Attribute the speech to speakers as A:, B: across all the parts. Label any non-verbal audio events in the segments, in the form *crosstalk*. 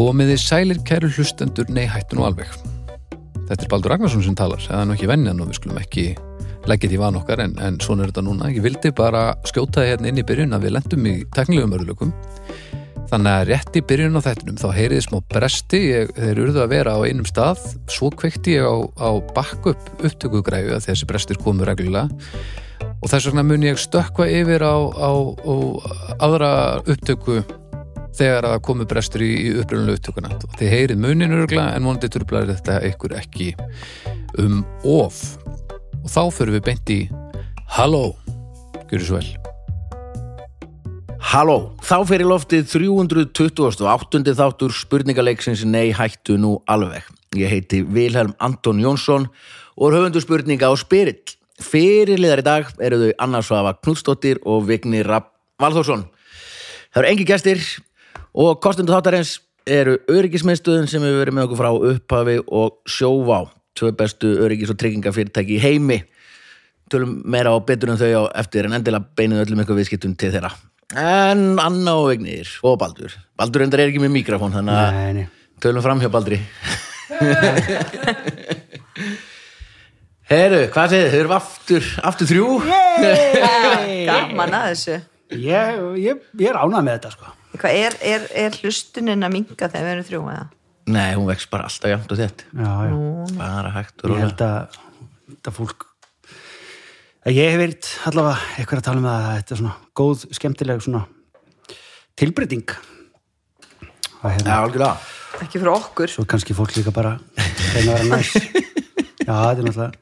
A: Komiði sælir kæru hlustendur, nei hættu nú alveg. Þetta er Baldur Ragnarsson sem talar, það er nú ekki venjan og við skulum ekki leggja því van okkar en, en svona er þetta núna. Ég vildi bara skjóta þið hérna inn í byrjun að við lendum í teknilegum örlökum. Þannig að rétt í byrjun á þettinum þá heyriði smá bresti, ég, þeir urðu að vera á einum stað, svo kveikti ég á, á backup upptökugræðu að þessi brestir komu reglulega og þess vegna mun ég stökkva yfir á, á, á aðra upptöku þegar að það komu brestur í, í uppröðunlega upptökuna og þið heyrið munin örgla en vonandi trublar þetta ykkur ekki um of og þá förum við beint í Halló, gjörðu svo vel
B: Halló, þá fer í loftið 328. þáttur spurningaleiksins Nei hættu nú alveg. Ég heiti Vilhelm Anton Jónsson og er höfundu spurninga á Spyrill. Fyrirliðar í dag eru þau Anna Svafa Knudsdóttir og Vigni Rapp Valþórsson. Það eru engi gestir og kostundu þáttarins eru öryggismiðstöðin sem hefur verið með okkur frá upphafi og sjóvá, tvö bestu öryggis- og tryggingafyrirtæki í heimi tölum meira og betur um þau á eftir en endilega beinuðu öllum eitthvað viðskiptum til þeirra en Anna og Vignir og Baldur Baldur endar er ekki með mikrofón þannig að
C: Nei, nei.
B: tölum fram hjá Baldri *laughs* Heru, hvað segir þið? Þau eru aftur, aftur þrjú
D: gaman að þessu
C: Ég, ég, ég er ánað með þetta sko.
D: Hvað er, er, er hlustunin að minga þegar við erum þrjú eða?
B: Nei, hún vex bara alltaf jæmt og þett
C: Já, já.
B: bara hægt
C: Ég
B: og rólega
C: held að þetta fólk að ég hef verið allavega eitthvað að tala um það að þetta er svona góð, skemmtileg svona tilbreyting. Að
B: Já,
C: hérna,
B: algjörlega
D: Ekki fyrir okkur
C: svo er kannski fólk líka bara reyna að vera
B: *laughs*
C: næs. Já, þetta er náttúrulega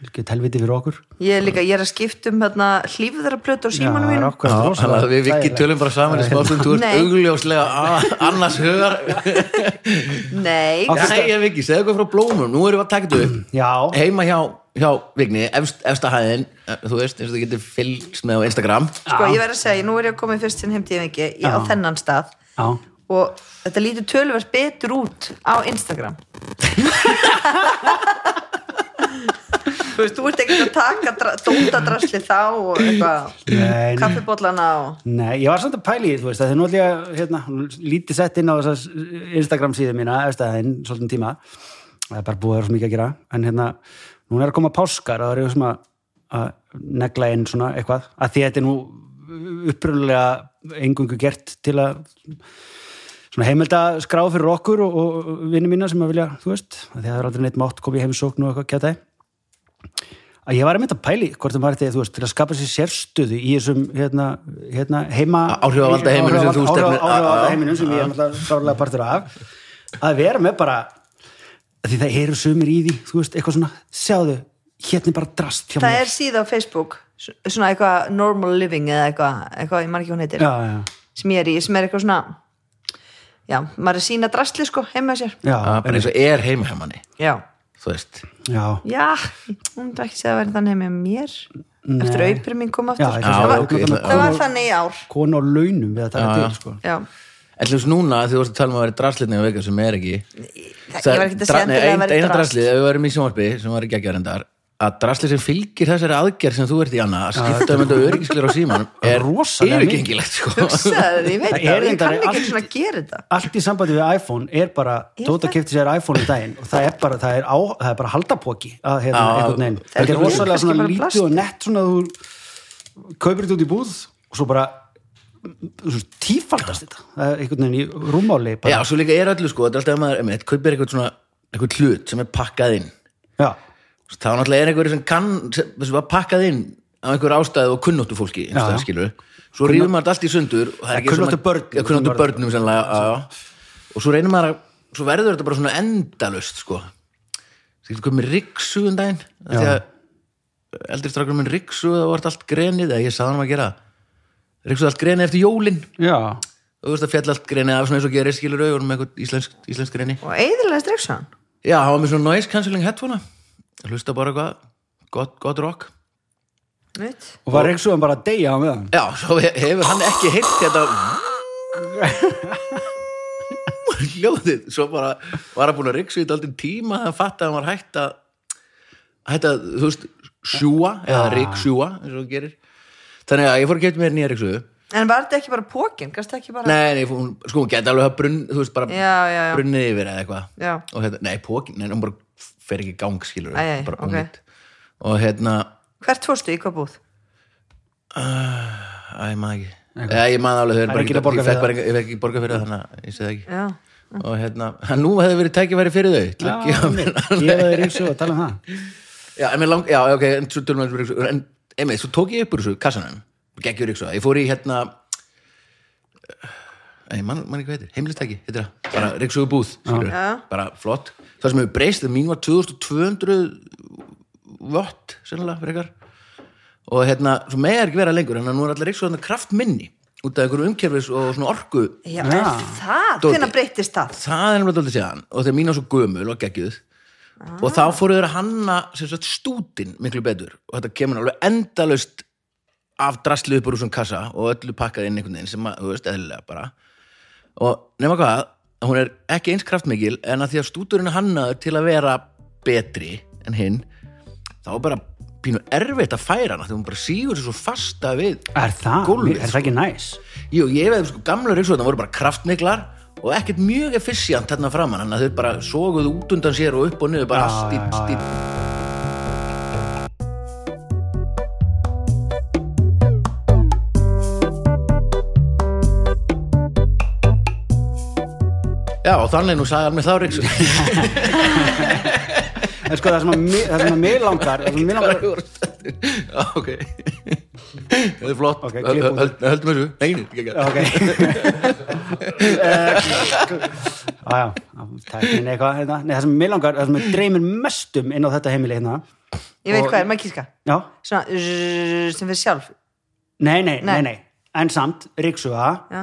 C: ekki helviti fyrir okkur.
D: Ég er líka, ég er að skipta um hérna, hlífðara plötu á símanum
C: Já,
D: mínum
C: rokkvæmt
B: Já,
C: rosalega
B: þannig að við vikið
C: þægilegt.
B: tölum bara saman í smástund Þú ert
D: Nei.
B: augljóslega a- annars
C: *laughs*
B: hugar
D: Nei,
C: Á-
B: Nei, ég vikið, segðu eitthvað frá blómum Nú erum við að taka þetta upp
C: Já,
B: heima hjá, hjá Vigni, efst, efsta hæðin eh, þú veist, eins og þú getur fylgst með á Instagram
D: sko ég verð að segja, nú er ég að koma í fyrst sinn heimtíð ekki í,
C: Já.
D: á þennan stað
C: já.
D: og þetta lítur tölverst betur út á
C: *laughs*
D: Instagram Þú veist, þú ert ekki að taka dra- dótadrasli þá og
C: Nei, nei. *clears throat*
D: eitthvað kaffibóllana og
C: Nei, ég var samt að pæli í, því, þú veist, að þið nú ætla ég að, hérna, hún lítið sett inn á þessas Instagram síðu mína, eftir aðeinn, svolítið tíma, það er bara búið að vera svo mikið að gera, en hérna, núna er að koma páskar og það er ég sem að, að negla inn svona eitthvað, að því þetta er nú upprunalega engungu gert til að svona heimilda skrá fyrir okkur og, og vinni mína sem að vilja, þú veist, að því að það er aldrei neitt mátt komið í heimsókn og eitthvað kjátaði að ég var að mynda að pæli hvort það var þetta þú veist, til að skapa sér sérstöðu í þessum hérna, hérna, heima
B: Á- áhrifavalda heiminum sem þú
C: Áhrifa-
B: stefnir-
C: áhrifavalda heiminum sem ég er náttúrulega sárlega partur af að vera með bara að því það eru sömur í því þú veist, eitthvað svona, sjáðu hérna er bara drast hjá
D: það
C: mér
D: er síða á Facebook s- svona eitthvað normal living eða eitthvað, eitthvað ég man ekki hvað hún heitir
C: já, já,
D: sem ég er í, sem er eitthvað svona já, maður er að sína drastli sko heima hjá sér
C: já,
B: Ah, bara eins og er heima hjá manni
D: já,
B: þú veist,
C: já,
D: já hún er ekki segja að vera þannig heima hjá mér eftir að auðvitað mín kom aftur
C: Já,
B: Já,
D: það, var,
B: ok, ég ætla-
D: það var þannig í ár
C: konu á launum við að taka
B: Já, já.
C: til sko.
D: já,
B: en hljóðs núna þegar þú varst að tala um að vera draslitni á veka sem er ekki
D: það, ég var ekki að segja
B: nei,
D: endilega
B: ein-
D: að vera
B: eina
D: drast
B: draslið, ef við varum í sjónvarpi sem var ekki að gera endar að draslið sem fylgir þessari aðgerð sem þú ert í annað að skipta um þetta öryggisleir á síman
C: er
B: er
C: rosalega
B: yfirgengilegt
C: *laughs*
B: sko.
D: hugsaðu þér, ég veit
C: Það er
D: það, ég kann
C: reyndar
D: ekki
C: allt-
D: svona að gera þetta
C: allt í sambandi við iPhone er bara
D: Er
C: Tóta
D: það?
C: kefti sér iPhone í daginn og það er bara, það er, á, það er bara haldapoki að hérna
B: Já,
C: einhvern veginn
B: það er
C: þetta er
B: ekki-
C: rosalega
D: kannski
C: svona
D: bara
C: lítið
D: plast.
C: og nett svona að þú kaupir þetta út í búð og svo bara svo tífaldast þetta það er einhvern veginn í rúmáli
B: já,
C: bara.
B: svo líka er öllu sko, þetta er alltaf að maður emitt, kaupir eitthvað svona, eitthvað hlut sem er pakkað inn
C: já,
B: Svo þá náttúrulega er einhverju sem kann sem sem var pakkað inn á einhverju ástæðu og kunnóttu fólki
C: Já, já.
B: einhverju, skilur. svo rýfum maður þetta allt í sundur og það
C: Ja,
B: er ekki eins og
C: kunnáttu
B: maður-
C: börn-
B: ja, kunnáttu börnum sannlega, já, já. og svo reynir maður að svo verður þetta bara svona endalust sko. það getur komið riksu um daginn af því að eldri strákur minn riksu það var allt grenið eða ég sagði hann að gera riksu allt grenið eftir jólin
C: já,
B: og þú veist að fjalla allt grenið af svona eins og gerir skilur og með eitthvað íslensk, íslensk greni
D: og eiginlega streiksan
B: Já, hann var með svona noise cancelling headphone Hlusta bara eitthvað, gott, gott rock
C: og var ekki svo bara að deyja á meðan
B: Já, svo he- hefur hann ekki heilt þetta Ljóðið, svo bara var hann búin að riksu í daldin tíma þegar hann fatt að hann var hætt að hætt að, þú veist, sjúa eða riksjúa, eins og hann gerir Þannig að ég fór að geta mér nýja riksuðu
D: En var þetta ekki bara pókin? Gast ekki bara...
B: Nei, nei, hún, sko, hún geti alveg hafa brunn, þú veist, bara
D: Já, já, já.
B: brunnið yfir eða eitthvað.
D: Já.
B: Og hérna, nei, pókin, nei, hún bara fer ekki í gang, skilur.
D: Æ, æ,
B: bara
D: ok.
B: ónýtt. Og hérna,
D: Hvert fórstu í hvað búð?
B: æ, ég maður ekki. Já, ég maður alveg, þau eru
C: Það er ekki að borga
B: ég fekk
C: fyrir
B: bara- Ég fekk ekki borga fyrir það, þannig að ég segi það ekki.
D: Já.
B: Og hérna, *laughs* hann nú hefði verið tækifæri fyrir þau. til að gefa mér-
C: gefa þér eins og tala um það
B: Já, en mér lang, já, ok, en svo tölum við um ríksu En, einmitt, svo tók ég upp úr þessu kassanum Gekki úr ríksu, ég fór í hérna Nei, mann man ekki hvað heitir, heimilistæki, heitir það Bara ríksu búð, skilur,
D: Já.
B: bara flott Það sem hefur breyst, það mín var 2200 watt, sennilega, frekar Og hérna, svo megar ekki vera lengur En nú er allir ríksu þarna kraftminni Út af einhverju umkerfis og svona orku
D: Já,
C: Já.
D: er það?
B: Dóri.
D: Hvenær breyttist það?
B: það er náttúrulega síðan og þegar mín á svo gömul og geggjuð og þá fóru þeir að hanna sem sagt, stútin miklu betur og þetta kemur alveg endalaust af drasli upp úr þessum kassa og öllu pakkað inn einhvern veginn sem að, þú veist, eðlilega bara og nema hvað, hún er ekki eins kraftmikil en að því að stúturinn er hannaður til að vera betri en hinn þá er bara pínu erfitt að færa hana því hún bara sígur sér svo fasta við
C: er það,
B: Gólfið,
C: er það ekki næs
B: Jú, ég veið, sko, gamla ríksuðna voru bara kraftmiklar og ekkert mjög effisjant hérna framan, þannig að þau bara soguðu út undan sér og upp og niður bara
C: Já,
B: stýp,
C: já, já,
B: stýp. Já, og þannig nú sagði hann mig þá ríksuð. *laughs*
C: en sko það sem að mig- það sem að mig langar það sem að mig langar
B: Já, ok. Það er flott.
C: Ok,
B: Okay,
C: klipp út.
B: Höldum þessu? Nei, nei, ekki. *laughs*
C: ok
B: Eh,
C: aðja, tæknin eitthvað hérna. Nei, það sem mig langar, það sem mig dreymir mestum inn á þetta heimili hérna
D: Ég veit
C: Og-
D: hvað er, maður kíska.
C: já,
D: Svona, zzzz, sem fyrir sjálf.
C: nei, nei, nei,
D: Nei.
C: nei en samt, ríksuga,
D: Já.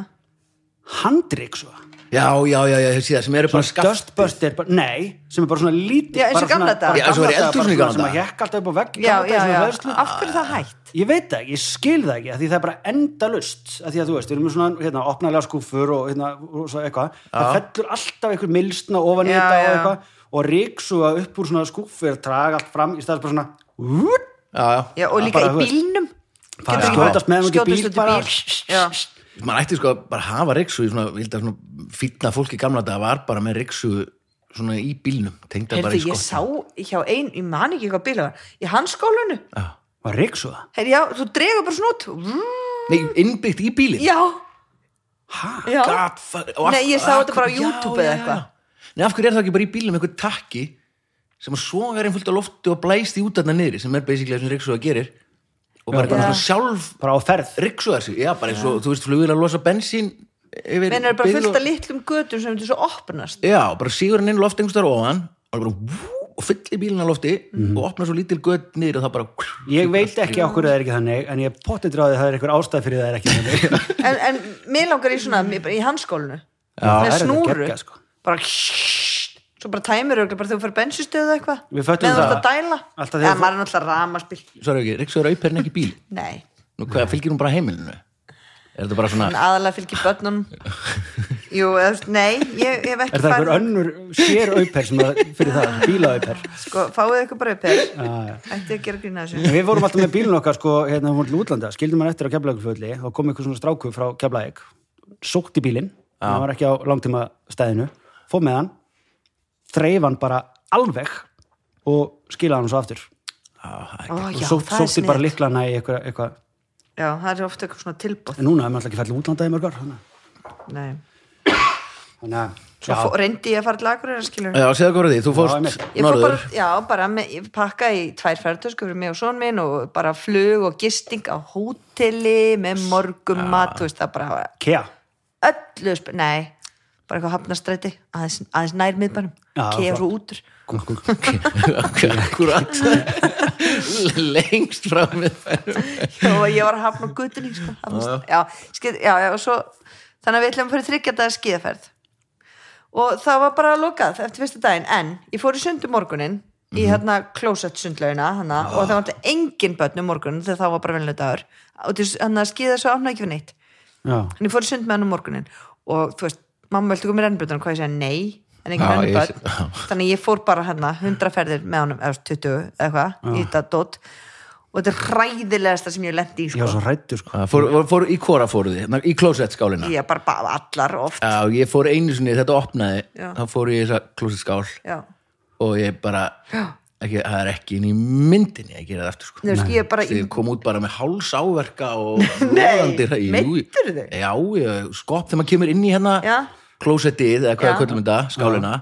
C: handríksuga
B: Já, já, já, já, þessi það sem eru bara skaft.
C: dustbuster, bara- nei, sem er bara svona lítið
D: Já, eins og
C: bara svona-
D: gamla daga.
C: bara
D: Já,
B: eins og var
C: gamla
B: í
C: daga, bara
B: eldhúsinu í
C: svona
B: gamla
C: sem að
B: daga.
C: hekka alltaf upp á vegg
D: Já,
C: gamla
D: já,
C: daga, svona
D: já.
C: hleðslu.
D: Af hverju er það hægt?
C: Ég veit það ekki, ég skil það ekki, af því það er bara endalust, af því að þú veist, við erum með svona, hérna, opnalega skúfur og hérna, og svo eitthvað, það fellur alltaf einhver milstna ofan í
D: Já,
C: þetta og
D: já.
C: eitthvað, og ríksuga upp úr svona skúfur, draga allt fram, í staðis bara svona, vút,
B: Já, já.
D: Já, og
C: Já,
D: líka
C: bara,
D: í
C: þú veist,
D: bílnum.
C: bara
D: Getur ekki
C: skjótast með
D: bara-
C: þeim út í bíl
D: skjótast út í
C: bara.
D: bíl. Já.
B: maður ætti sko að bara hafa riksu í svona, vilda svona fýtna fólki gamla þetta var bara með riksu svona í bílnum tengda bara í
D: Herðu, ég
B: skott
D: sá hjá ein, ég man ekki hvað bíla var, í hans skólanu.
C: og ríksuga,
D: Herðu, já, þú dregur bara svona út. Vrrr,
B: Nei, innbyggt í bílinn
D: Já,
C: hæ,
D: já.
B: God, fuck, og af-
D: Nei, ég sá
B: af
D: þetta bara á
B: hverju-
D: YouTube
B: já,
D: eða
B: já,
D: eitthvað.
B: já. Nei, af hverju er það ekki bara í bílnum einhver takki sem að sogar einn fullt á loftu og blæst því út þarna niðri sem er basically það sem riksu gerir og bara eitthvað
D: Já.
B: svona sjálf
C: bara á ferð,
B: riksu þessu, já, bara eins og þú veist flugir að losa bensín yfir
D: menn er bara
B: bíl
D: fullt
B: og-
D: af litlum götur sem þetta svo opnast.
B: Já, bara sígur hann inn loft einhvers þar ofan og bara vú, og fyllir bílinn að lofti og opnar svo lítil gött niður og það bara
C: ég veit ekki á hverju það er ekki þannig, en ég potið dráði það er einhver ástæð fyrir það er ekki þannig,
D: *laughs* En, en mér langar í svona, mér- í hans skólanu.
C: það
D: Með
C: er þetta
D: snúru.
C: geggjað, sko.
D: Bara svo bara tæmir auðvitað bara þegar þú fyrir bensinstöðu eitthvað.
C: Við föttum
D: Meðan þú
C: það.
D: ert að dæla.
C: Alltaf
D: Alltaf
C: þegar
D: þegar
C: þú-
D: maður er náttúrulega ramaspil.
B: Svara ekki, Ríksvegur auper en ekki bíl
D: Nei,
B: Nú hvað, fylgir hún bara heimilinu? Er þetta bara svona
D: en aðalega fylgir
C: *laughs*
D: börnunum. Jú, eða, þú veist, nei, ég ég hef ekki
C: er það einhver önnur sér auper sem að, fyrir það, bílaauper
D: Sko, fáið eitthvað bara upp hér.
C: já, já.
D: Ætti að gera grína
C: En
D: þessu.
C: Við vorum alltaf með bílun okkar sko, hérna, hún til útlanda, skildum hann eftir á Keflavíkurflöðli og kom eitthvað svona stráku frá Keflavík sókti bílinn, hann var ekki á langtíma stæðinu, fóð með hann þreif hann bara alveg og skilaði hann svo aftur
B: Á, það er
D: Ó,
B: ekki-
D: já,
C: og sók,
D: það er
C: sókti bara
D: snið.
C: liklana í eitthvað, eitthvað
D: Já, það er ofta eitthvað svona tilbúð.
C: en núna er maður alltaf ekki fæll útlanda í mörgar þannig
D: Nei.
C: að,
D: Svo fó- reyndi ég að fara til Akureyrar, skilur.
B: Já, séðu hvað voru því, þú
C: einmitt.
B: fórst
D: Ég fór bara,
B: *laughs* norður
D: já, bara með, ég pakkaði í tvær ferðtösku fyrir mig og son minn og bara flug og gisting á hóteli með morgum mat, þú veist, það bara var
C: kea
D: öllu, sp- nei, bara eitthvað hafnastræti, aðeins, aðeins nær miðbænum,
C: Já,
D: kefa
C: flott.
D: svo útur. *laughs*
B: Akkurat *laughs* Lengst frá með þær
D: og ég var að hafna á gutunni, sko, hafnast, já, skil, já, já, og svo, þannig að við ætlum að fyrir þryggja dagar skíðaferð. Og það var bara lokað eftir fyrsta daginn, en ég fór í sundu morgunin, í hérna klósett sundlauna hana, og það var alltaf engin börn um morgunin þegar það var bara velinu dagur og þess- þannig að skýða svo afnæði ekki við neitt
C: já,
D: Þannig ég fór í sund með hann um morgunin og þú veist, mamma viltu koma í rennbjörnum hvað ég segja nei, en engin
B: Já, ég
D: rennbjörn
B: sé- já.
D: þannig ég fór bara hérna 100 ferðir með honum, eða 20 eða eitthvað, í þetta dót og og þetta er hræðilegasta sem ég lendi í
C: ég
D: sko.
C: var svo rættur sko.
B: Það Fór, fór, fór í hvora fóruð þið? Ná, Í klósettskálina?
D: ég bara bara allar oft
B: Já, ég fór einu sinni, þetta opnaði
D: Já.
B: þá fór ég í þessa klósettskál
D: já.
B: og ég bara ekki, það er ekki inn í myndinni að gera það aftur sko.
D: Þú veist, ég bara
B: Þegar ég kom út bara með háls og
D: *laughs* Nei,
B: hræ- Jú, ég-
D: meiddirðu þig?
B: Já, ég, skopp þegar maður kemur inn í hérna
D: Já.
B: klósettið eða hvað
D: Já.
B: er kvöldum þetta, skálina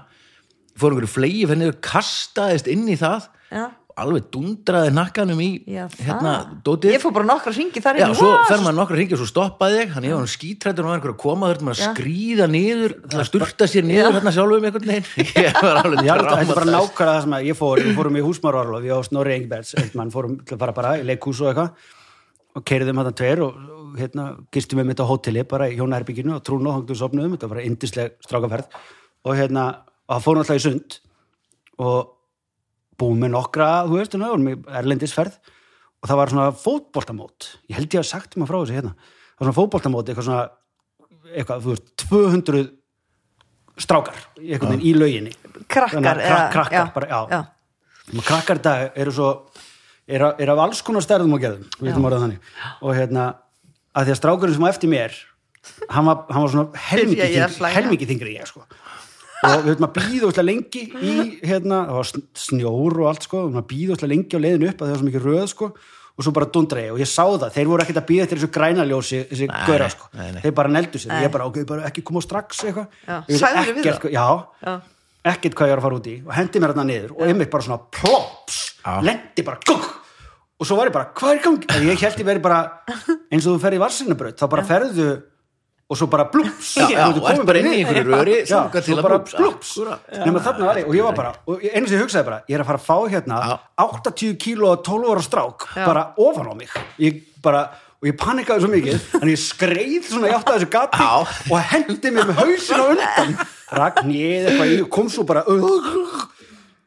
B: fór einhverju flegi fyrir niður, kastaðist inn í það
D: Já.
B: og alveg dundraði nakkanum í
D: Já, það.
B: hérna, dótið
D: ég fór bara nokkra hringi þar
B: Já,
D: inn.
B: svo
D: Vá,
B: fer maður nokkra hringi og svo stoppaði ég hann ég var hann skítrættur og var einhver að koma þurfti maður
D: Já.
B: að skríða niður til að sturta sér niður hérna sjálfum einhvern
C: *laughs*
B: veginn ég var alveg
C: Já, þetta þetta er bara
B: traumatæst.
C: nákvæmlega það sem að ég fór, við fórum í húsmarorlof, ég og Snorri Engbergs, eitt mann fórum til að fara bara í leikhús og eitthvað og keiriðum hann tveir og og, hérna, gistum við mitt á hóteli bara í hjónaherbygginu og trúna og hangtum sopnuðum, þetta var bara yndisleg strákaferð og hérna, og það fórum alltaf í sund og búum með nokkra, þú veist, hérna, vorum í erlendisferð og það var svona fótboltamót, ég held ég að sagt maður frá þessu hérna, það var svona fótboltamót, eitthvað svona, eitthvað, þú veist, 200 strákar, einhvern veginn í lauginni
D: krakkar,
C: Þannig að krak-
D: eða-
C: krakkar
D: já,
C: bara, já.
D: já.
C: Og krakkar í dag eru svo er, af- er af alls konar stærðum og gerðum við vitum orðið þannig og hérna, að því að strákurinn sem var eftir mér hann var, hann var
B: *laughs*
C: svona helmingi,
D: Byrja ég að
C: þyngri,
D: hlæja.
C: helmingi þingri ég sko og við höfum að býða útla lengi í hérna, það var sn- snjór og allt sko, við höfum að býða útla lengi á leiðinu upp að það var svo mikið röð sko og svo bara dundra ég og ég sá það, þeir voru ekkert að býða eftir þessu grænaljósi, þessi gauðra sko
B: nei, nei.
C: þeir bara neldu sér, ég bara ok, bara ekki koma strax eitthvað,
D: Já.
C: Ég vissi
D: Sagðirðu við
C: ekkert
D: þá?
C: hvað- já,
D: Já.
C: ekkert hvað ég var að fara út í og hendi mér þarna niður og einmitt bara svona plops,
B: Já.
C: lendi bara kuk, og svo var ég bara, hvað er í gangi Að ég held ég verið bara, eins og þú ferði í varsinnabraut þá bara ferðu og svo bara blúps
B: Já, já, og ert bara inn í einhverju röri þangað
C: svo
B: til að
C: bara
B: blúps.
C: blúps
B: Akkúrat.
C: nema þarna var ég og ég var bara, og ég- einu sem ég hugsaði bara ég er að fara að fá hérna
B: Já.
C: 80 kíló og 12 ára strák
D: Já.
C: bara ofan á mig ég bara og ég panikaði svo mikið
B: *laughs*
C: en ég skreið svona ég átti að þessu gati
B: Já.
C: og hendi mér með hausin á undan rak nýð eitthvað í og kom svo bara uh,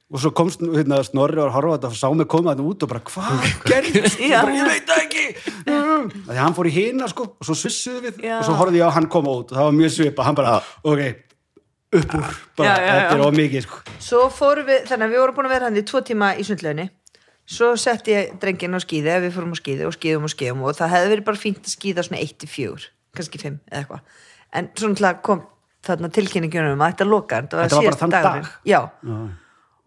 C: og svo komst hérna, Snorri og horfa þetta og sá mig koma þetta út og bara hvað gerðist
D: Já.
C: Ég bara, ég veit það ekki um, því að hann fór í hina sko og svo svissuðu við
D: Já.
C: og svo horfði ég á hann koma út og það var mjög svipa hann bara, ok, upp úr bara,
D: Já, já, já.
C: þetta er of mikið sko
D: svo fórum við, þannig að við vorum búin að vera hann í tvo tíma í sundlauginni svo setti ég drengin á skíði eða við fórum á skíði og skíðum og skíðum og það hefði verið bara fínt að skíða svona 1-4 kannski 5 eða eitthvað en svona til að kom þarna tilkynningunum um að þetta loka þetta var,
C: Þetta var bara
D: síðasti
C: þann
D: dagurinn.
C: dag?
D: já,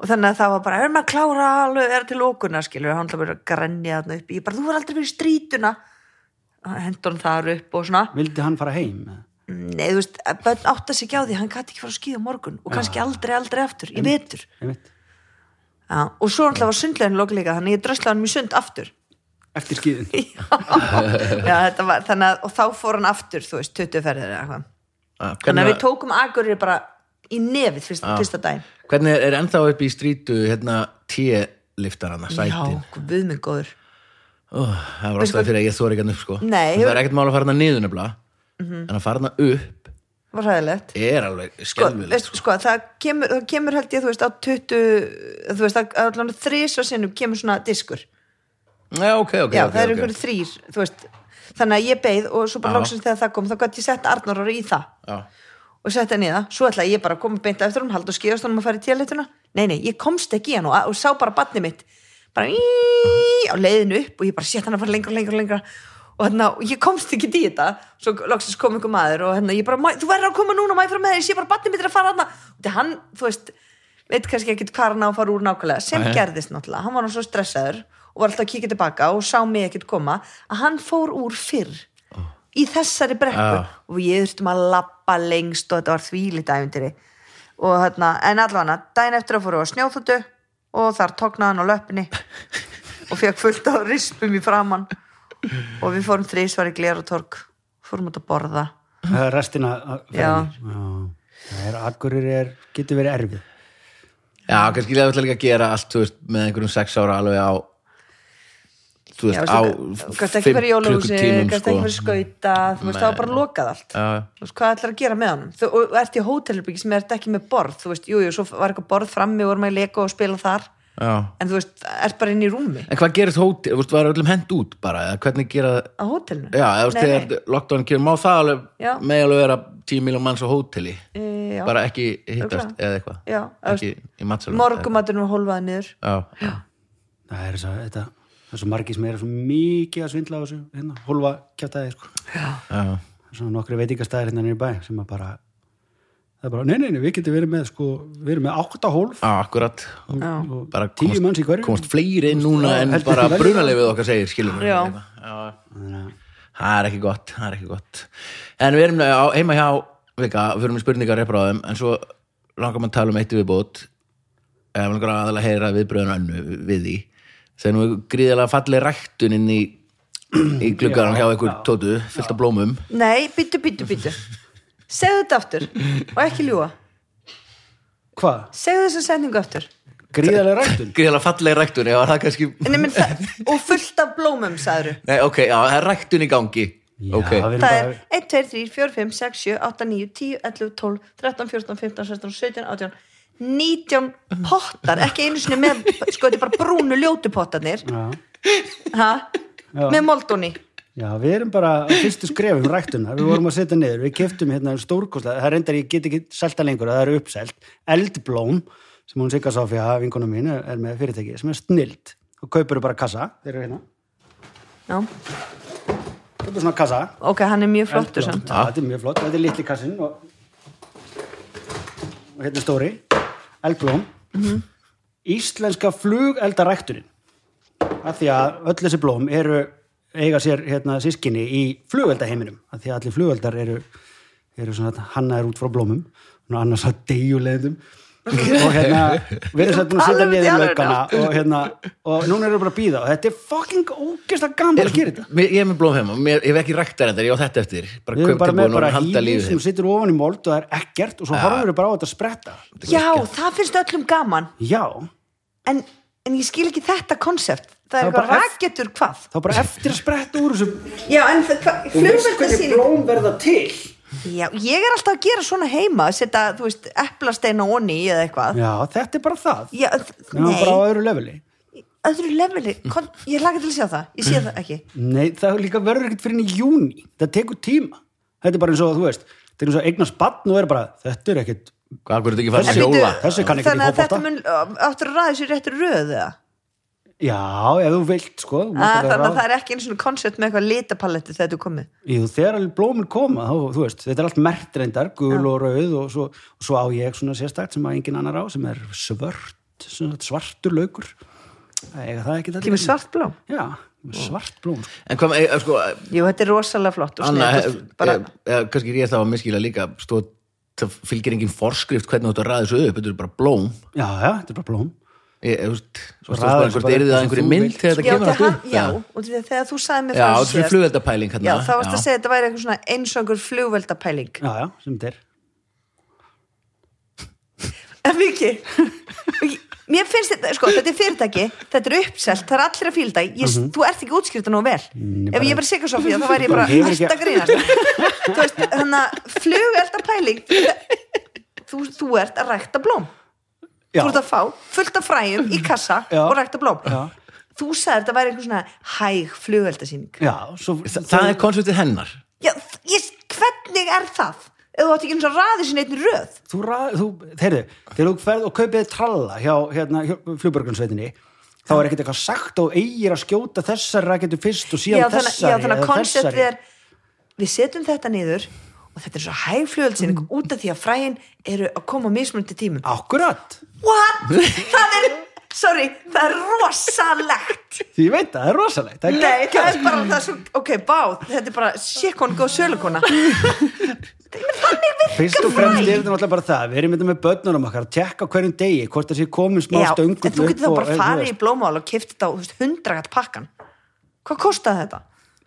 D: og þannig að það var bara, erum að klára alveg, er til okkurna, skilur, hann ætlaði bara að grenja þarna upp, ég bara, þú var aldrei fyrir strítuna hendur hann þar upp og svona
C: vildi hann fara heim
D: nei, þú veist, bönn átta sig ekki á því hann gæti ekki fara að skýða morgun og kannski aldrei, aldrei aftur, ég vetur
C: einmitt.
D: Já, og svo náttúrulega var sundlegin lokuleika þannig að ég drösla hann í
B: *laughs*
D: sund aftur
C: eftir skýðin
D: *laughs* Já, þetta var, þannig að, og þá fór hann aftur þú veist, 20 ferðir eða
B: Já,
D: eitthvað þannig að
B: Ah, hvernig
D: við tókum agurir bara í nefið fyrst, fyrsta daginn
B: var- hvernig er ennþá upp í strítu hérna tíliftarana, sætin
D: Já, við mig góður
B: Ó, það var ástæði fyrir að ég þóri ekki hann upp sko
D: Nei,
B: En það
D: hefur- Mhm.
B: er ekkert mál að fara hana niður nefnilega en að fara hana upp
D: var hæðilegt
B: er alveg
D: sko,
B: skelvilegt
D: veist,
B: sko.
D: sko, það, kemur, það kemur held ég, þú veist, á 20 þú veist, að- allan þrísva sinnum kemur svona diskur
B: sko. Já, ok, ok,
D: Já,
B: ok,
D: það eru
B: ok.
D: einhverju þrýr, þú veist þannig að ég beið og
B: Já.
D: svo bara loksins þegar það kom þá gæti ég sett Arnur í það
B: Já.
D: og sett henni í það, svo ætlaði ég bara að koma beint eftir hún, halda og skýðast honum að fara í télituna nei, nei, ég komst ekki í hann og, og sá bara batni mitt, bara í, á leiðinu upp og ég bara sétt hann að fara lengra, lengra, lengra og hérna, og ég komst ekki í þetta svo loksins kom einhver maður og hérna, ég bara, "Mæ- þú verður að koma núna, maður fyrir með þér, ég sé bara batni mitt er að fara hann og hann, þú veist, veit kannski ekkit hvað hann á að fara úr nákvæmlega, sem
B: Nei.
D: gerðist náttúrulega, hann var nú svo stressaður og var alltaf að kíkja tilbaka og sá mig ekkit koma að hann fór úr fyrr í þessari brekku
B: Já.
D: og við þurftum að lappa lengst og þetta var þvílít æfintýri og þarna, en allavega daginn eftir að fóru á snjóþútu og þar tóknaði hann á
B: *laughs*
D: löppinni og fekk fullt á rispum í framann og við fórum þrísvar í gleratorg fórum út að borða
C: restina af ferðinni.
D: Já.
C: Já. það er akkurir er, getur verið erfið
B: Já, kannski ég ætla líka að gera allt þú veist, með einhverjum sex ára alveg á þú
D: Já,
B: veist, á
D: veistu, gæti ekki verið í jólahúsi,
B: klukkutímum
D: gæti ekki verið
B: sko.
D: skauta þú veist, það var bara lokað allt
B: Já, já.
D: þú veist, hvað ætlar að gera með honum þú, og ert í hótelbyggi sem ert ekki með borð þú veist, jú, jú, svo var eitthvað borð frammi og vorum að leika og spila þar
B: Já.
D: en þú veist, ert bara inn í rúmi
B: En hvað gerist hóti, þú veist, var öllum hend út bara eða hvernig gera það
D: á hótelinu
B: Já, eða þú veist,
D: Nei, nei.
B: þegar lockdown kemur, má það
D: Já.
B: alveg með alveg vera 10 miljón manns á hóteli
D: E, já.
B: bara ekki hittast
D: Örugglega.
B: eða eitthvað
D: Já,
B: ekki í matsalum
D: morgumatunum var hólfaði niður
B: Já, já,
C: það er þess að þetta það er svo margir sem eru svo mikið að svindla á þessu hérna, hólfa kjátaði sko.
B: já,
C: svona nokkri veitingastæðir hérna niður í bæ sem að bara það er bara, nei, nei, nei, við getum verið með sko, við erum með átta hólf
B: já, akkurat
C: og, og
B: bara
C: tíu
B: komast-
C: manns í hverju
B: komast fleiri inn núna en
C: heldur
B: bara
C: þú verður
B: brunalefið okkar segir skilum við
D: Já.
B: hérna. Já. það er ekki gott það er ekki gott en við erum á, heima hjá vika, við erum í spurningar repráðum en svo langar maður að tala um eitt viðbót eða maður langar aðalega að heyra viðbröðun önnu við því þegar nú er gríðilega falleg ræktun inn í í glugganum hjá einhver tótu fullt af blómum
D: Nei, byttu, byttu, byttu Segðu þetta aftur og ekki ljúa
C: hvað,
D: Segðu þessa setningu aftur
C: gríðarlega rættun
B: gríðilega falleg ræktun já, það er kannski
D: Nei, menn, það, Og fullt af blómum, sagður
B: Nei, ok, já, það er ræktun í gangi
C: já,
B: ok,
C: við erum
D: Það er
C: bara
D: 1, 2, 3, 4, 5, 6, 7, 8, 9, 10, 11, 12, 13, 14, 15, 16, 17, 18 19 pottar, ekki einu sinni með sko, þetta er bara brúnu ljótu pottarnir
C: já,
D: ha?
C: Já.
D: með moldóni
C: já, við erum bara á fyrstu skrefum rættuna, við vorum að setja niður við keftum hérna stórkosla, það er reyndar ég get ekki selta lengur, það er uppselt eldblóm, sem hún Sigga Sofía vinkona mín er, er með fyrirtæki, sem er snilt og kaupur bara kassa, þeir eru hérna
D: Já,
C: kaupur svona kassa
D: ok, hann er mjög flottur
C: Eldblóm.
D: samt
C: Já, þetta er mjög flott, þetta er litli kassinn og, og hérna er stóri eldblóm
D: Mhm.
C: íslenska flugeldaræktunin af því að öll þessi blóm eru eiga sér hérna sískinni í flugeldaheiminum af því að allir flugeldar eru, eru svona, hanna er út frá blómum og annars að deyjulegðum og hérna, við erum satt búin að setja
D: Alveg
C: niður
D: alveg
C: löggana og hérna, og núna erum við bara að býða og þetta er fucking ógæsta gaman að gera þetta
B: Mér, ég er með blóm heima, mér, ég hef ekki ræktar þetta, ég á þetta eftir bara
C: Við erum bara með
B: kauptilbúin og
C: bara
B: halda
C: hýði
B: lífið
C: sem situr ofan í mold og það er ekkert og svo horfum við bara á þetta að spretta.
D: Já, það finnst öllum gaman
C: Já,
D: en, en ég skil ekki þetta konsept það
C: Það
D: er
C: er bara
D: eitthvað
C: eft-
D: raketur hvað
C: þá
B: *laughs*
C: bara eftir að spretta úr þessu
D: Já, en það, hva, flugveldasýning
C: blóm verða til.
D: Já, ég er alltaf að gera svona heima að setja, þú veist, eplasteina onni í eða eitthvað
C: Já, þetta er bara það.
D: Já, þ-
C: Nefnum bara á
D: nei,
C: öðru leveli.
D: öðru leveli Kon, ég laka til að sjá það, ég sé það ekki
C: Nei, það er líka verður ekkert fyrir henni í júni. Það tekur tíma. Þetta er bara eins og þú veist, þetta er eins og eignast batn og er bara, þetta er ekkert,
B: Hvað, hvernig þetta ekki fara að
C: Þessi-
B: hjóla?
D: Bíddu,
C: Þessi kann ekki
D: Þannig að
C: fótbolta.
D: þetta mun ö, áttur að ræða sér réttur röðu eða?
C: já, ef þú vilt, sko. þú mátt
D: Ah,
C: alveg
D: Þannig að
C: ráða-
D: það er ekki einu svona konsept með eitthvað litapaletti þegar þú komið
C: Jú, þegar alveg blómin koma, þá, þú veist, þetta er allt mert reyndar, gul og rauð og svo, og svo á ég svona sérstakt sem að engin annar á, sem er svört, svona svartur laukur. Ega það er ekki þetta.
D: Kemur svart blóm?
C: Já, með svart blóm. sko.
B: En hvað, með, eh, sko,
D: Jú, þetta er rosalega flott og
B: Anna,
D: sniðugt
B: eh,
D: og bara,
B: eh, eh, kannski er ég þá að miskila líka, stóð, það fylgir engin forskrift hvernig þú ert að ræða þessu upp, þetta er bara blóm.
C: Já, já, þetta er bara blóm.
B: Ég, ég, veist, svo
C: raða
B: stóð,
C: þessu
B: hvort
C: bara upp
B: er það
C: eins og
B: einhverju
C: þú
B: mynd
C: vilt.
B: þegar þetta
D: já,
B: kemur
D: þegar,
B: allt upp?
D: hann- já, og því að þegar þú sagði mér
B: já,
D: frá
B: þetta er
D: síðast-
B: flugveldapæling hérna.
D: Já, þá varst að segja að þetta væri eitthvað svona eins og einhver flugveldapæling
C: Já, já, sem þetta er.
D: En Viki Mér finnst þetta, sko, þetta er fyrirtæki Þetta er uppselt, það er allir að fíla þetta ég, Þú ert ekki útskrifta nógu vel Ef ég verið Sigga Sofía, þá væri ég bara
C: Hefur
D: hægt
C: ekki-
D: að grínast Þú veist, þannig að flugeldapæling þú, þú ert að rækta blóm
C: Já,
D: Þú ert að fá fullt af fræjum í kassa
C: Já.
D: og rækta blóm
C: Já.
D: Þú sagði þetta væri einhver svona hæg flugeldasýning
C: já, svo,
B: Þa, það er konsultið hennar.
D: Já, ég, hvernig er það? Ef þú átt ekki eins og raði sinni einn röð
C: þú, rað, þú, heyrðu, þegar þú ferð og kaupið tralla hjá, hérna, hjá flugbergunsveitinni, þá er ekkert eitthvað sagt og eigir að skjóta þessari raketu fyrst og síðan
D: já, þannig,
C: þessari.
D: já, þannig að
C: eða
D: koncept
C: þessari.
D: er við setjum þetta niður og þetta er svo hægflugöldsinn mm. út af því að fræin eru að koma á mismunandi
C: Ah.
D: tímum
C: Akkurat. *laughs*
D: What? það er, sorry, það er rosalegt
C: Því ég veit það, það er rosalegt. Það er
D: Nei,
C: geggjað, sko.
D: það er bara, það er svo, ok, bá þetta er bara sikkon góð sölukona
C: Fyrst og fremst er þetta náttúrulega bara það, við erum þetta með börnunum okkar að tjekka á hverjum degi, hvort það sé komin smá
D: Já, en
C: stöngull
D: þú getur þá
C: og-
D: bara
C: þú
D: farið í
C: veist,
D: blómál og kifti þetta á þú veist, 100 gatt pakkan Hvað kostaði þetta?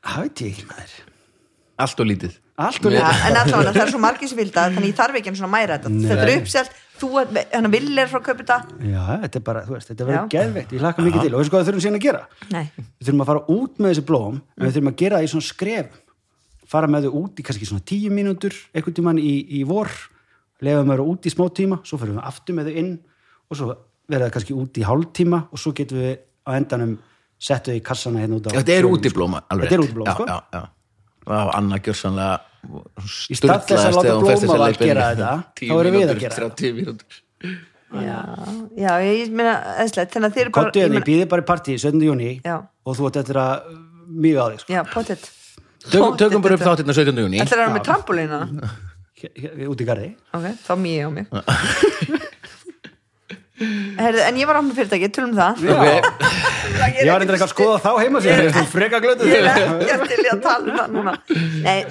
C: Það veit ég ekki maður
B: Allt og lítið.
C: Allt og
D: Ja,
C: lítið
D: en allavega, það er svo margir sem vilda þannig ég þarf ekki einu svona að mæra þetta Þetta er uppselt, þú, hann vil er frá að kaupa þetta
C: Já, þetta er bara, þú veist, þetta verður
D: Já.
C: geðveitt Ég hlakka mikið til og veistu hvað við þurfum síðan að gera?
D: Nei
C: Við þurfum að fara út með þessi blóm en við
B: Mm.
C: þurfum að gera það í svona skref fara með þau út í kannski svona tíu mínútur einhvern tímann í, í vor lefa með þau út í smá tíma, svo fyrir við aftur með þau inn og svo verða þau kannski út í hálftíma og svo getum við á endanum settu þau í kassana hérna út á
B: Þetta er
C: fjörðinn,
B: útiblóm, alveg.
C: Þetta er
B: rétt.
C: útiblóm,
B: Já,
C: sko.
B: Já, já. Vá, Anna gjör sannlega
C: Í stað þess að láta blómavald gera þetta, þá erum við að gera þetta.
B: þetta. 30 mínútur.
D: já, já, ég meina eðslegt, þannig að þið eru bara
C: Kottu
D: ég
C: hérna, ég
D: meina-
C: býði bara í partí 17. júni
D: Já.
C: og þú átt eftir að mýga á þig sko.
D: Já, pottet
B: tökum, tökum bara upp þáttirna 17. júni
D: Ætlar það með
C: *laughs*
D: trampolína?
C: Hér- hér- út í garði
D: Ok, þá mýi ég á *laughs* mig Herðu, en ég var áfnum fyrirtæki, tölum um það
B: okay.
C: Ég var eitthvað að skoða þá heima sér Ég er freka glötu
D: *laughs* Ég
C: *laughs*
D: er ekki til í að tala um það núna Nei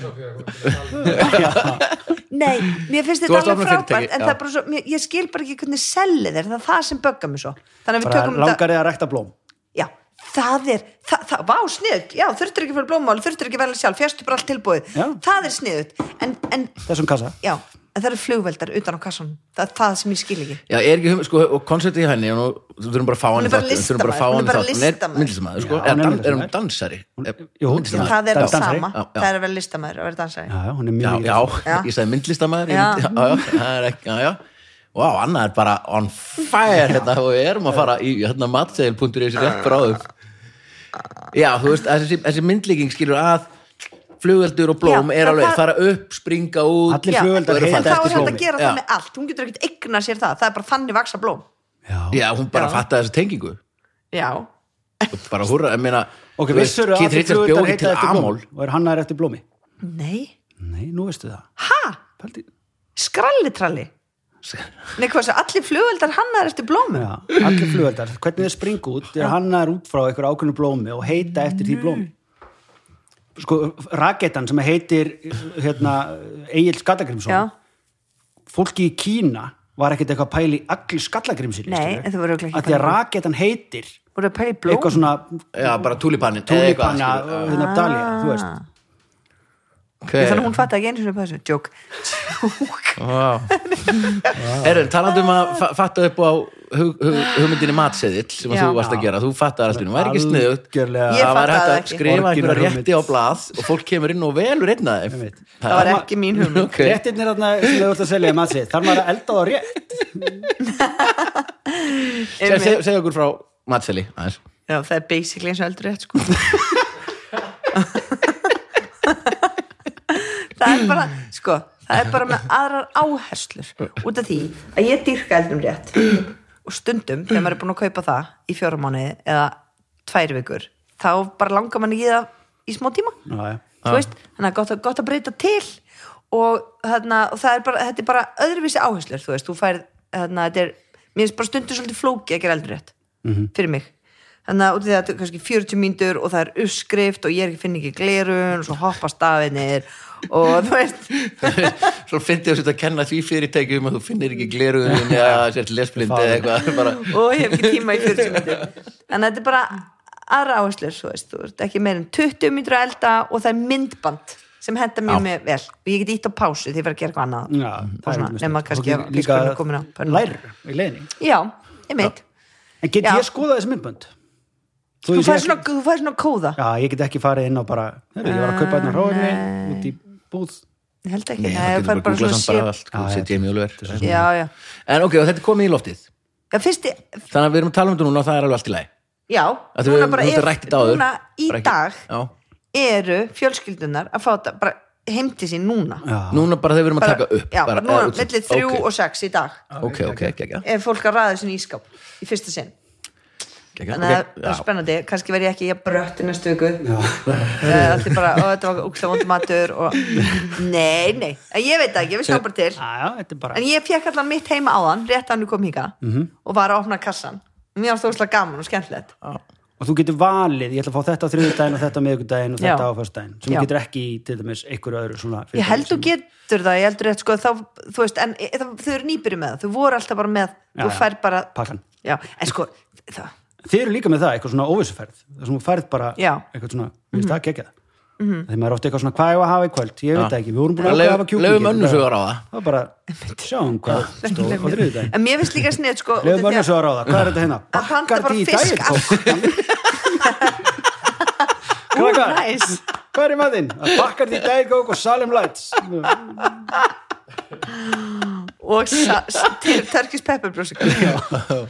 D: Nei, mér finnst
B: Þú
D: þetta
B: varst
D: alveg
B: opnað fyrirtæki,
D: frábært en
B: já.
D: það er bara svo, mér, ég skil bara ekki hvernig sellið er það er það sem böggar mig svo þannig að við
C: Bara
D: tökum þetta
C: langar þið að rækta blóm
D: já, það er, það, það, vá sniðut já, þurftur ekki fyrir blómál, þurftur ekki velja sjálf fjastu bara allt tilbúið,
C: Já.
D: það er sniðut en, en,
C: Þessum kassa
D: já, en það eru flugveldar utan á kassan, það er það sem ég skil ekki
B: Já, er ekki, hum- sko, og konceptið í henni og nú, þú þurfum bara að fá hann
D: er
B: í
D: bara
B: þáttinn, við þurfum bara að fá
D: listamaður, hún
B: hann
C: Já,
B: í þáttinn. Hún er myndlistamæður, sko,
D: er bara listamaður.
B: eða
C: hún er
B: dan- er hún
C: myndlistamæður.
B: dansari
C: Jú, hún-
B: Myndlistamæður.
D: það er
C: Dan-
D: það
C: dansari.
D: sama,
B: Já, já.
D: það er að vera listamæður að vera dansari
C: Já, já, hún er
B: Já,
C: mjög mikið
B: já,
D: Já.
B: ég sagði myndlistamæður ég-
D: Já.
B: Já, já, það er ekki, já, já Vá, Anna er bara on fire hérna og við erum að fara í hérna matseðil.is rétt bráðum Já, þú veist, þessi, þessi myndlíking skilur að flugveldur og blóm
D: Já,
B: er
D: en
B: alveg
D: það-
B: fara upp, springa út
C: Allir
D: Já,
C: flugöldar
D: en
B: heita
D: þá er
B: eftir
D: hægt að
B: blómi. Já.
D: gera það með allt hún getur ekkert eigna sér það, það er bara þannig vaksa blóm
C: já.
B: Já, hún bara
D: Já.
B: fattaði þessa tengingu
D: já,
B: bara húrra, ég meina
C: Ok,
B: þú veist,
C: vissur að
B: Keith
C: allir
B: Richards
C: flugöldar
B: bjóði
C: heita
B: til
C: eftir
B: Amol
C: blómi og er hannaðir eftir blómi
D: nei
C: Nei, nú veistu það
D: ha,
C: Pældi-
D: skrallitralli Nei, hvað svo, allir flugöldar hannaðar eftir blómum?
C: Já, allir flugöldar, hvernig þeir springa út er hannaðir út frá einhver ákveðnu blómi og heita eftir því blómi Sko, raketan sem heitir hérna, Egil
D: Já,
C: Skallagrimsson fólki í Kína var ekkert eitthvað pæli allir Skallagrimsson
D: Nei, en þau voru örugglega
C: Því að
D: ekki pæla í blómi.
C: raketan heitir
D: voru að pæla í blóm?
C: eitthvað svona
B: Já, bara tulipanni
C: tónipanna hérna dalja, þú veist
D: Ah. Ég þannig að hún fatt ekki einu sinni pæsum, joke
B: Erun, talandi um að fa- fatta upp á hug, hug, hugmyndinni matseðill sem að
D: Já.
B: þú varst að gera, þú fattaði allt í einu, var ekki sniðugt
C: Algjörlega.
D: Ég
B: það var hægt
D: fattaði það
B: að
D: ekki.
B: skrifa einhverja
C: Orginal
B: rétti á blað og fólk kemur inn og velur einn að þeim
C: Einmitt.
D: Það var ekki mín hugmynd
B: Ok.
C: réttirnir þarna sem þau vart að selja í matsi þar maður að elda það rétt
B: Seg- seg- Segðu okkur frá matseðli aðeins. *laughs*
D: Já, það er basically eins og eldur rétt sko Það er bara, sko það er bara með aðrar áherslur út af því að ég dýrka eldur rétt og stundum þegar maður er búin að kaupa það í fjóra mánuði eða tvær vikur, þá bara langar mann ekki í það í smá tíma
C: Ná, já.
D: þú veist, þannig að gott, að- gott að breyta til og þarna, og það er bara þetta er bara öðruvísi áherslur, þú veist þú færð, þarna, þetta er mér finnst bara stundur svolítið flóki að gera eldur rétt fyrir mig, þannig að út af því að þetta er kannski 40 mínútur og það er uppskrift og ég er ekki finn ekki glerun og svo hoppa stafinir og þú veist
B: Svo fyndið þú sér að kenna því fyrirtækjum að þú finnir ekki gleruðin eða sért lesblind eða eitthvað bara,
D: og ég hef ekki tíma í 40 mínútur þannig að þetta er bara aðra áherslur þú veist, þú veist ekki meir en 20 mínútur að elda og það er myndband sem henda mér með vel og ég get ítt á pásu því ég verð að gera eitthvað annað
C: Já,
D: og svona, nema kannski að
C: líka
D: líka komin á pönnu.
C: lær í leiðinni
D: já, ég meit
C: en get
D: Já.
C: ég skoðað þessi myndbönd? Þú
D: þú
C: ég sé
D: fær
C: ekki-
D: svona, þú fær svona kóða
C: Já, ég get ekki farið inn á bara heyrðu, ég var að kaupa hérna hróinni út í búð
D: ég held ekki,
B: Nei,
D: Nei,
B: það
D: þú fær
B: getur bara
D: bara
B: googlað samt bara
D: svona sé
B: allt, sko, sitt ég mjög lögur
D: já, já,
B: En ok, og þetta er komið í loftið
D: já, fyrst ég-
B: Þannig að við erum að tala um þetta núna og það er alveg allt í lagi
D: já,
B: Að
D: núna
B: við-
D: bara
B: þú ert að
D: er-
B: rætt þetta áður.
D: núna í
B: Bara ekki-
D: dag
B: Já.
D: eru fjölskyldunar að fá þetta bara heimti sín núna
B: Núna bara þegar við erum að
D: bara,
B: taka upp
D: já, bara, núna,
B: eða-
D: mellið þrjú
B: Ok.
D: og sex í dag
B: ok, ok, ok, ok,
D: ef fólk að ræða sinni ískáp í fyrsta sinn
B: ok,
D: þannig að
B: ok,
D: það er
B: já.
D: spennandi, kannski verð ég ekki ég brött í næstu viku allir bara, og þetta var úkslega vondum matur og nei, nei, En ég veit það ekki, við sjáum bara til
C: Já, já, þetta er bara
D: en ég fekk allan mitt heima áðan rétt að hann kom híka og var að opna kassan mér var stóðslega gaman og skemmtilegt
C: og þú getur valið, ég ætla að fá þetta á þriðudaginn og þetta á miðugudaginn og
D: Já.
C: þetta á föstudaginn sem
D: Já.
C: þú getur ekki í, til dæmis, einhverju öðru svona
D: ég
C: fyrirtæki
D: held þú
C: sem-
D: getur það, ég heldur rétt sko þá, þú veist, en e, það, þau eru nýbyrju með það þau voru alltaf bara með,
C: Já,
D: þú
C: já.
D: fær bara
C: pakkan.
D: já, en sko, það
C: Þið eru líka með það, eitthvað svona óvissuferð þar sem þú færð bara
D: Já. Mhm.
C: eitthvað svona, við veist það gegja það þegar maður er ofta eitthvað svona, hvað ég var að hafa í kvöld ég veit það ekki, við vorum búin að ákveða að hafa
B: Leif-
C: kjúkling
B: Leifum önnur sögur á það
C: það var bara, sjáum hvað stóð á þriðudaginn
D: en mér finnst líka snið sko, út af
C: Leifum
D: því
C: önnur
D: að-
C: sögur á það, hvað er þetta hérna?
D: Að panta
C: Bakkar
D: bara
C: því í
D: fisk
C: daginn Krakkar,
D: nice.
C: hvað er í matinn? Bakkar því í daginn kók og Salem Lights
D: og sa- s- til Turkish pepper brúsikar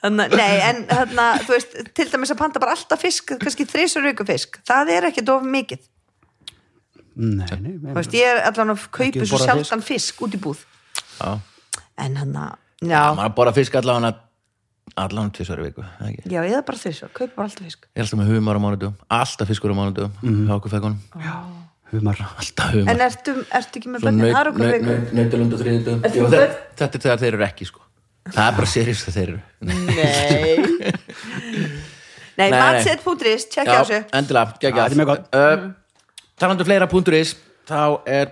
D: Þannig, nei, en þarna, þú veist, til dæmis að panta bara alltaf fisk, kannski þrísur viku fisk, það er ekki dofa mikið.
C: Nei, nei,
D: Þú
C: nei
D: veist, ég er allan að kaupa
C: Ekki
D: svo
C: borða fisk.
D: sjaldan fisk út í búð.
B: Já.
D: En hann að, Já,
B: maður borða fisk allan að allan tvisvar í viku eða ekki?
D: já, eða bara þess að kaupa bara alltaf fisk
B: ég er alltaf með humar á mánudum, alltaf fiskur á mánudum
C: Mhm.
B: hjá okkur fækunum,
C: humar
B: alltaf humar
D: En ertu, ertu ekki með bönni? Það er okkur viku
B: nautilund og þriðindum
D: Ert þú með börn? Ah.
B: þetta er þegar þeir eru ekki sko það er bara seriðst að þeir eru
D: Mm,
B: *laughs*
D: Nei Nei,
B: nei.
D: matset.is, tjekki á þessu Mm.
B: endilega,
C: Já, þetta er mjög
B: geggja
C: gott.
B: talandu fleira punktur is þá er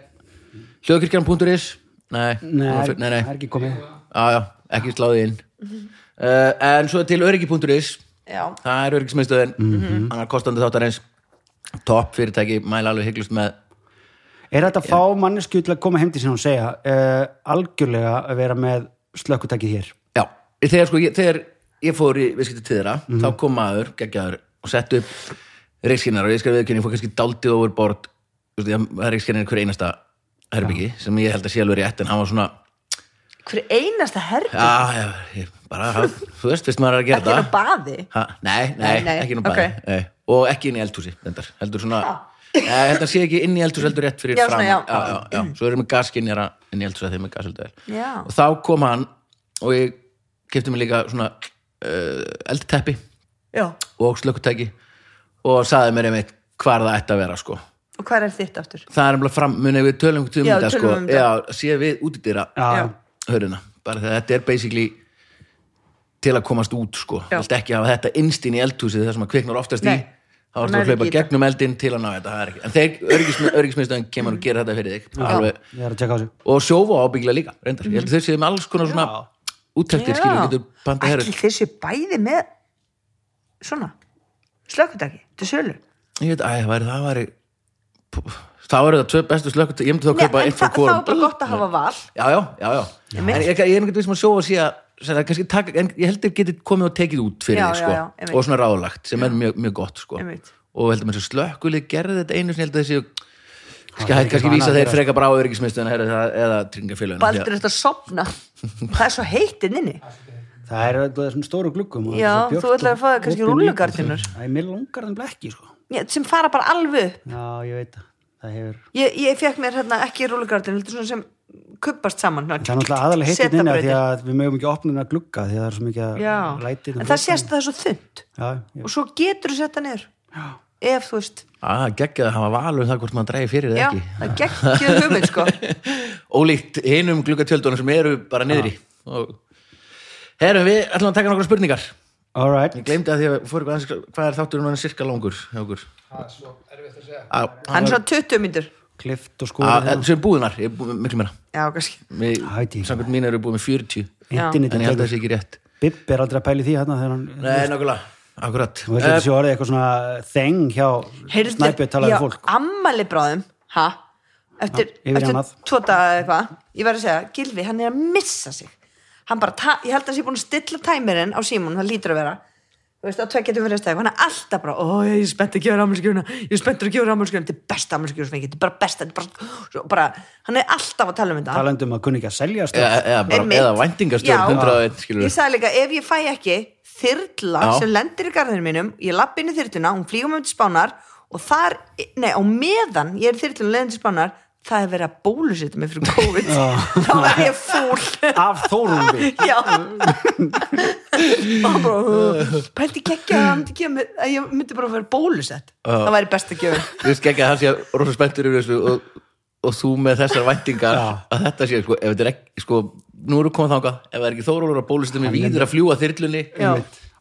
B: hljóðkirkjan punktur is nei,
C: Nei,
B: hún er fyr- nei, nei.
C: það er ekki komið
B: Já, já, ekki sláði inn uh, en svo er til öryggi.is
D: Já,
B: það er öryggismiðstöðin mm annar kostandi þáttarins topp fyrirtæki, mæla alveg hygglust með
C: Er þetta að fá mannesku til að koma heim til sín og segja uh, algjörlega að vera með slökkutækið hér?
B: já, þegar sko ég, þegar ég fór í viðskipti til þeirra, þá kom maður geggjaður og sett upp reikskinar og ég skar viðkynni, ég fór kannski daldið over board þú veist, það er reikskinar hver einasta herbyggi, sem ég held að sé alveg rétt en hann var svona,
D: hver einasta herfi
B: já, já, ég bara hann- þú veist, fyrst maður er að gera
D: Ekki er á
B: það
D: baði
B: Ha, nei, nei,
D: Nei, nei,
B: ekki nú
D: ok.
B: bæði nei. og ekki inn í eldhúsi reyndar. heldur svona, eh, heldur sé ekki inn í eldhúsi heldur rétt fyrir
D: Já,
B: fram
D: svona, já.
B: Já, já, já. svo erum við gaskinjara inn í eldhúsi þegar með gaselduvel
D: Já.
B: og þá kom hann og ég kefti mig líka svona uh, eldteppi
D: Já,
B: og slökkutæki og saði mér einmitt hvar það ætti að vera sko
D: og hvað er þitt aftur?
B: það er nefnilega fram, muni við tölum um
D: Já,
B: þetta
D: tölum
B: sko,
D: um
B: já, sé við út í dýra
D: Já.
B: hörina, bara þegar þetta er basically til að komast út sko,
D: Já.
B: vilt ekki hafa þetta innst inn í eldhúsið þar sem að kviknar oftast
D: Nei.
B: í þá ertu að
D: Nærðu
B: hlaupa
D: ekki í
B: gegnum eldin til að ná þetta, það er ekki en þeir
D: *laughs*
B: öryggismi- öryggismiðstöðin kemur og gerir þetta fyrir þig bara alveg,
C: Ég er að tjekka á þessu.
B: og sjófa ábyggla líka reyndar, ég held að þeir séu með alls konar svona úttektir,
D: Já.
B: skilur, getur panta herri
D: Ætli þeir séu bæði með svona slökkutæki til sölu
B: ég veit, æ, það væri, það væri þá eru það tvö bestu slökkut ég myndi þá
D: Nei,
B: kaupa
D: en
B: eitt frá
D: það, það
B: hvorum
D: er bara gott að hafa val
B: já, já, já, já. en ég, ég er einhvern veginn sem að sjófa síða sem það kannski taka, en ég held að getið komið og tekið út fyrir
D: Já,
B: þig,
D: já,
B: sko,
D: já, einmitt.
B: og svona ráðlagt sem er mjög, mjög gott, sko
D: Einmitt.
B: og heldur maður sem slökkulið gerði þetta einu sem held að þessi
C: það
B: kannski,
C: er
B: hætt
C: ekki
B: kannski
C: annað
B: vísa
C: að
B: þeir
C: gera.
B: freka bara á öryggismiðstöðuna herra, það- eða tryggingafélaginu
D: Baldur er þetta að sopna Það er svo heitinn inni
C: Það er auðvitað þessum stóru gluggum. og
D: Já,
C: þessar björt
D: þú ætlar
C: og
D: að fá þér kannski
C: opin
D: rúllugardínur.
C: glugg. Æ, mér langar þeim blekki, sko.
D: Já, sem fara bara alveg upp
C: Já, ég veit það. Það hefur...
D: Ég, ég fekk mér hérna ekki rúlugardin heldur svona sem kubbast saman
C: Það er náttúrulega aðalega heitt
D: Setabrautir.
C: inn að því að við mögum ekki opna að glugga því að það er svo mikið að
D: Já,
C: læti
D: en það sést að það er svo þund
C: Já, ég,
D: og svo getur þú setta niður ef þú veist
B: að Ah, geggjað að hafa val um það hvort maður dreigi fyrir eða
D: Já,
B: ekki
D: það geggjur hugmynd
C: *laughs*
D: sko
B: ólíkt hinum gluggatjöldunum sem eru bara niðri og herrum við ætlum að taka nokkra spurningar
C: all right.
B: ég glemdi að því að fór eitthvað aðeins- hvað er þátturinn hann sirka langur hjá okkur Á,
D: Hann er svona 20 myndur
C: Klift og hérna.
B: Að-
C: skóri.
B: að- Ah, sem búðunar, ég er búið með miklu meira
D: Já, kannski
B: Mér-
C: Það veit ég ekki.
B: samkvæmt mín eru búið með 40 en
C: Internetin
B: ég held að það
C: tekur.
B: sé ekki rétt
C: hérna Bibb er aldrei að pæli því hérna þegar hann...
B: Nei, nákvæmlega, akkurat
C: Þú veist þetta sé orðið eitthvað svona þeng hjá
D: Heyrðu,
C: snæpið talaði
D: já,
C: fólk.
D: Ammali bráðum, ha? Eftir,
C: Já, yfir í
D: eftir
C: annað.
D: tvo daga eða eitthvað Ég var að segja, Gilvi, hann er að missa sig Hann bara, ta- ég held að hann sé búin að stilla tæmirinn á símón, það lítur að vera Þú veist, á tvekja til fyrir stæð Hann er alltaf bara, ó, ég er spennt að gefa rammalskjöfuna Ég er spennt að gefa rammalskjöfuna, þetta er besta rammalskjöfuna sem ég geti, bara besta þetta er bara, svo, bara, Hann er alltaf að tala um þetta
C: Talandi um að kunni ekki að selja stöð.
B: eða, eða, bara,
D: Einmitt.
B: eða væntingastjórn
D: Já.
B: 101 skilur
D: Ég sagði líka, ef ég fæ ekki þyrla
B: Já.
D: sem lendir í garðinu mínum ég lapp inn í þyrluna, hún flýgum um til spánar og þar, nei, á meðan ég er í þyrlunum leiðin til spánar það er verið að bólusetja mig fyrir COVID *laughs* þá var ég fúl
C: Af
D: *laughs*
C: Þórumbi.
D: Já og hann bara pælti gekkja að hann myndi gefa mér- að ég myndi bara að vera bólusett það væri best að gefa
B: Þú veist ekki að það sé rosa spenntur yfir þessu og, og þú með þessar væntingar að þetta sé, sko, ef þetta er ekki sko, nú eru komað þangað, ef það er ekki Þórólur að bólustum við víður að fljúa þyrlunni
D: Já.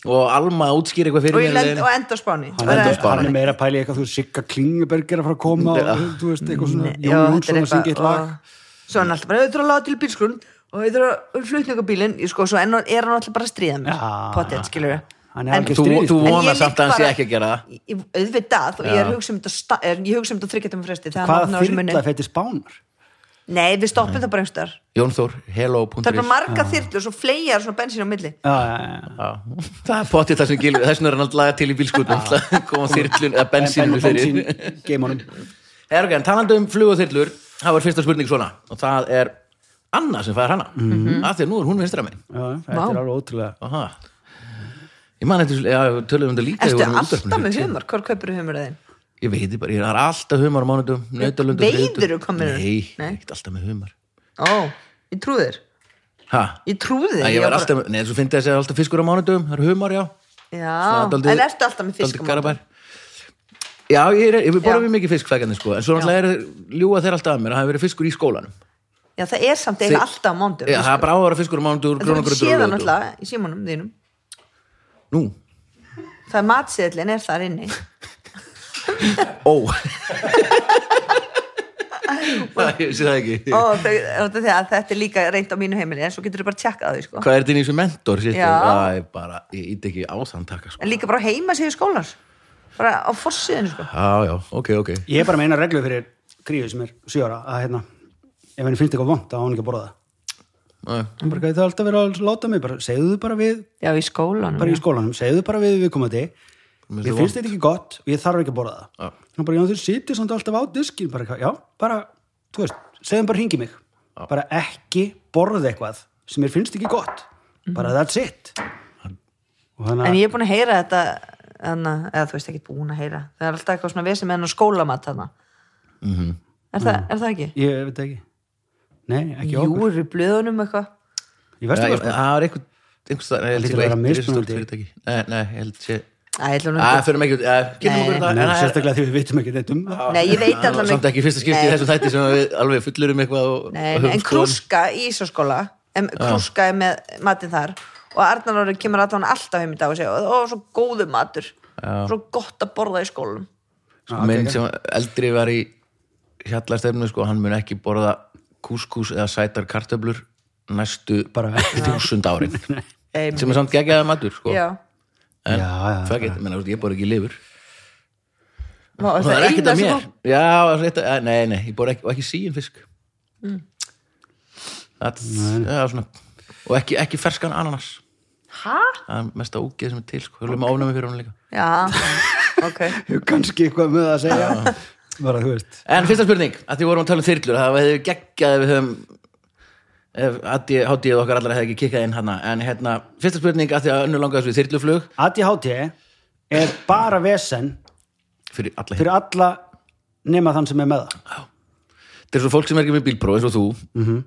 B: og Alma að útskýra eitthvað
D: og,
B: fyrir
D: ég lend,
B: mér um
D: og enda á spáni
C: Hann
D: Bara-
B: endar á
C: er, hann
B: Spáni.
C: er meira að pæli eitthvað, þú veist, Sigga Klinguberg er að fara að koma og þú veist, eitthvað svona,
D: Nei,
C: Jón
D: já, þetta
C: Jónsson
D: er
C: að syngja eitt lag.
D: og, svo hann alltaf bara, ég þarf að laga til bílskrun og ég þarf að flutninga bílinn ég sko, svo enn og er hann alltaf bara að stríða mér
C: Já.
D: potið, skilur við
C: Hann er
D: En-
C: algjör
B: Þú,
C: stríðis-
B: þú
D: En ég
B: vonar
D: lík
B: samt að hann sé
D: bara-
B: ekki að gera það
D: Ég- ég- auðvitað og ég er hugsa um þetta sta- er- ég hugsa um þetta þryggjatum fresti þegar hann
C: Hvaða
D: opnar á þessu munni.
C: þyrla fætti spánar?
D: nei, við stoppum það bara einhverstaðar
B: Jón Þór, hello.is
D: það er bara marga þyrlu og svo flegar svona bensín á milli
C: Já, já, já.
B: Já, *laughs* það er potið það sem gilvið þessum er hann alltaf til í bílskutnum koma þyrlun, eða bensínu fyrir
C: Bensín, geimunum.
B: er ok, en talandi um flugurþyrlur það var fyrsta spurning svona og það er Anna sem fær hana mm
D: Mhm.
B: -hmm. af því að nú er hún vinstra megin
C: Já, þetta er alveg ótrúlega.
B: Aha. ég man þetta, já, við töluðum um þetta líka þegar
D: erstu
B: við vorum í
D: alltaf
B: útvarpinu
D: með
B: fyrir
D: humor, hvar kaupir þú humor þeim?
B: tíu. ég veit, ég bara, ég er alltaf humar á mánudum, nautalundu
D: Veiðirðu hvað meinarðu?
B: nei,
D: Nei.
B: ekkert alltaf með humar
D: ó, ég trú þér
B: Ha?
D: Ég trúði því
B: Nei, ég var alltaf, nei, þú finnst þessi alltaf fiskur á mánudum, það eru humar, já.
D: Já,
B: dálítið-
D: Ah, en ertu alltaf með
B: dálítið
D: fiskum
B: Garabær. Já, ég, er, ég borða
D: Já.
B: við mikið fisk fækandi, sko, en svo náttúrulega er ljúa þeir alltaf að mér, að það hefur verið fiskur í skólanum.
D: Já, það er samt eiginlega alltaf á mándum
B: Já, það er bara á að vera fiskur á mánudur,
D: Þú
B: grónagröður
D: séðan alltaf í símanum þínum
B: Nú,
D: Það er matseðlin er þar inni *laughs*
B: ó. Það, *laughs* ég sé það ekki.
D: og þau, og þau- þegar þetta er líka reynd á mínu heimili en svo getur þau bara tjekkað þau sko.
B: Hvað er þetta í þessu mentor, sýttu?
D: Já.
B: Það er bara, ég ít ekki á þann taka, sko.
D: en líka bara heima síðu skólar bara á forsiðinu sko.
B: Já, já, ok, ok.
C: Ég er bara með eina reglu fyrir kríu sem er sjö ára að hérna, ef henni finnst eitthvað vond þá á hann ekki að borða það.
B: Æ.
C: Hún bara gæti alltaf verið að láta mig, bara segðu þau bara við,
D: já í skólanum
C: bara
D: já.
C: í skólanum, segðu þau bara við viðkomandi,
B: finnst
C: ég
B: það
C: finnst þetta ekki gott og ég þarf ekki að borða
B: Já.
C: það. Hún bara, já þau situr samt alltaf á diskin, bara, eitthvað, já, bara, þú veist, segðum bara hringi mig, bara ekki borða eitthvað sem mér finnst ekki gott, bara that's it. Og þannig
D: en
C: að,
D: ég er búin að heyra þetta hana, eða þú veist ekki búin að heyra það er alltaf eitthvað svona vesi með hennar skólamat hana. er, það, er það ekki?
C: ég veit það ekki, nei, ekki
D: Jú,
C: okkur,
D: eru í blöðunum eitthvað
C: ég veist
B: Já,
C: það
B: ég-
C: sko.
B: Það var einhvern einhvers staðar-
C: Það
B: nei, ég held ekki
C: hlýtur að vera
B: eitt risastórt
C: mismunandi.
B: fyrirtæki. Nei, nei, ég held sé
D: Æ, ég ætla nú
B: Það
D: ekki-
B: fyrir mig ekki Kynum
D: Nei,
B: okkur
D: nei,
B: það
C: Nei,
B: en það-
C: sérstaklega því við veitum ekki neitt um það.
D: Nei, ég veit
B: það var
D: allan
B: Samt ekki í fyrsta skipti í
D: Nei.
B: þessum þætti sem við alveg fullurum eitthvað og,
D: Nei,
B: og
D: nei,
B: höfum
D: en
B: skoðun.
D: krúska í Ísaskóla en krúska er með matinn þar og Arnar Orri kemur allan alltaf heim í dag og segja, ó, svo góðu matur svo gott að borða í skólum
B: Sko, Minn sem eldri var í hjallarstefnu sko, hann mun ekki borða kúskús eða sætar kartöflur næstu
C: Bara-
B: þúsund árin
D: Nei.
B: sem er samt geggjaða matur sko.
D: já,
B: en
C: Já, já,
B: það get, menna, ég borða ekki lifur
D: Vá,
B: og það er ekkert
D: eina
B: að
D: sem
B: mér
D: þú-
B: já, það er rétt að, eh, nei, nei, ég bor ekki, og ekki síin fisk það það er svona og ekki, ekki ferskan ananas
D: ha?
B: það er mesta úgeð sem er til, sko, við höfum okay. ofnæmi fyrir hún líka
D: já, *laughs* ok
C: Hefur kannski eitthvað með að segja bara þú veist
B: en fyrsta spurning, að því vorum að tala um þyrlur það hefði geggjað ef við höfum ef hátíð okkar allra hefði ekki kikkað inn hana, en hérna, fyrsta spurning að því að önnu langaðast við þyrluflug
C: ADHD er bara vesen
B: fyrir alla
C: fyrir alla nema þann sem er með það
B: þetta er svo fólk sem er ekki með bílpró eins og þú það er
C: Mhm.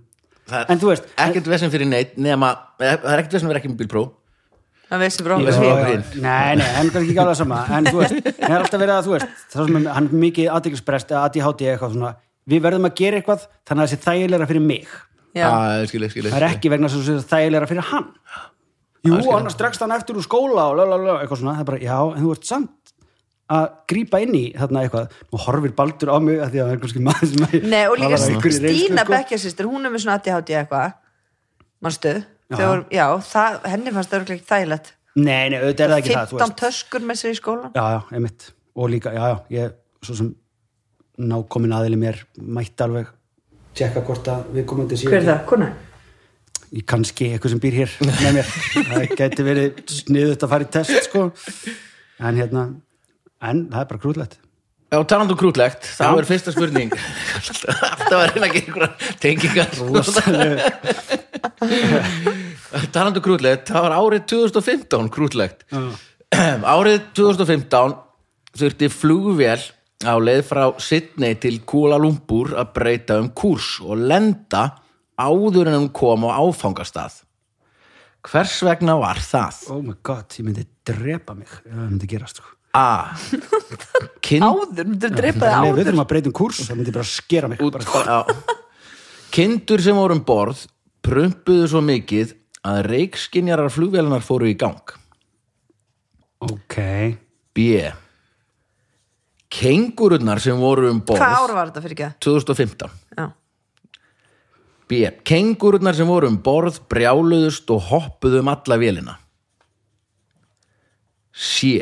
C: En þú veist-
B: ekkert vesinn fyrir neitt nema, eh, það er ekkert vesinn fyrir ekki með bílpró
D: það veist sem frá
B: veist
D: því.
B: bara hinn.
C: Nei, nei, en kannski ekki alveg sama en þú veist, það er alltaf verið að þú veist þá sem hann er mikið aðdeglisbrest eða ADHD eitthvað svona, við verðum að gera eitthvað þannig að það sé þægilegra fyrir mig
D: já,
B: Ah, skilu, skilu,
C: það er ekki vegna þess að það sé þægilegra fyrir hann Jú, annars dregst hann eftir úr skóla og lalalala, eitthvað svona, það er bara, já, en þú ert samt að grípa inn í þarna eitthvað og horfir baldur á mig að því að það er kannski maður sem að-
D: nei, og líka
C: talar af einhverri reynslu,
D: Stína
C: sko.
D: Bekkjarsýstir, hún er með svona ADHD eitthvað manstu, þau
C: Já.
D: voru, já, það, henni fannst það örugglega ekki þægilegt
C: Nei, nei, auðvitað er það ekki það, þú
D: 15
C: veist.
D: töskur með sér í skólan
C: Já, já, einmitt. Og líka, já, já, ég, svo sem nákomin aðili mér mætti alveg tjekka hvort að við komandi síðan.
D: hver er það, konar?
C: Í kannski eitthvað sem býr hér með
D: *laughs*
C: mér. það gæti verið sniðut að fara í test, sko. En hérna, en það er bara krúllett.
B: Já, talandum krútlegt, þá er fyrsta spurning *laughs* Alltaf að reyna að gera einhverja tengingar Talandum um krútlegt, það var árið 2015 krútlegt *clears throat* Árið 2015 þurfti flugvél á leið frá Sydney til Kuala Lumpur að breyta um kúrs og lenda áður en hún kom á áfangastað Hvers vegna var það?
C: Oh my god, ég myndi drepa mig ef það myndi gerast, sko.
B: A. Kind
D: áður, myndur dreipa það
C: Nei,
D: áður
C: við þurfum að breyta um kurs, það myndi bara skera mig. Bara, sko.
B: Já. Kindur sem voru um borð prumpuðu svo mikið að reikskinjarar flugvélunar fóru í gang.
C: ok,
B: B. Kengururnar sem voru um borð
D: hvað ár var þetta fyrir ekki
B: 2015.
D: það?
B: B. Kengururnar sem voru um borð brjáluðust og hoppuðu um alla vélina. C.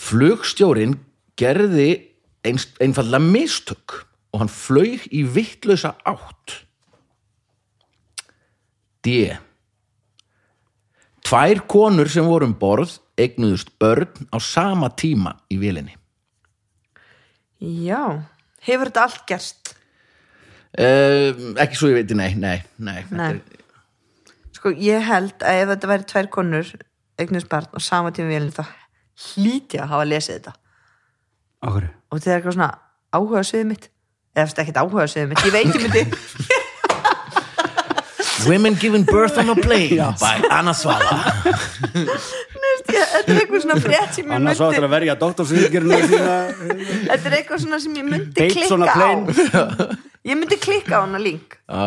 B: Flugstjórin gerði einst, einfallega mistök og hann flög í vittlausa átt. D. Tvær konur sem voru um borð eignuðust börn á sama tíma í vélinni.
D: Já, hefur þetta allt gerst
B: Uh, ekki svo ég veiti, nei, nei, nei. þetta
D: Nei.
B: er-
D: Sko, ég held að ef þetta væri tvær konur eignusbarn og sama tíma vélinn þá hlýt ég að hafa lesið þetta
C: okkur.
D: og þetta er eitthvað svona
C: *laughs*
D: áhuga sviðið mitt eða þetta er ekkert áhuga sviðið mitt, ég veit ég myndi
B: Women Giving Birth on a Plane by Anna Svala
D: Ég- þetta er eitthvað svona frétt sem ég
C: annars svo
D: myndi
C: ætlar að verja doktorsvíkjörnum sína
D: þetta er eitthvað svona sem ég myndi
C: Beit svona
D: klikka á
C: plain.
D: *laughs* ég myndi klikka á hana link
B: Já.
D: *laughs*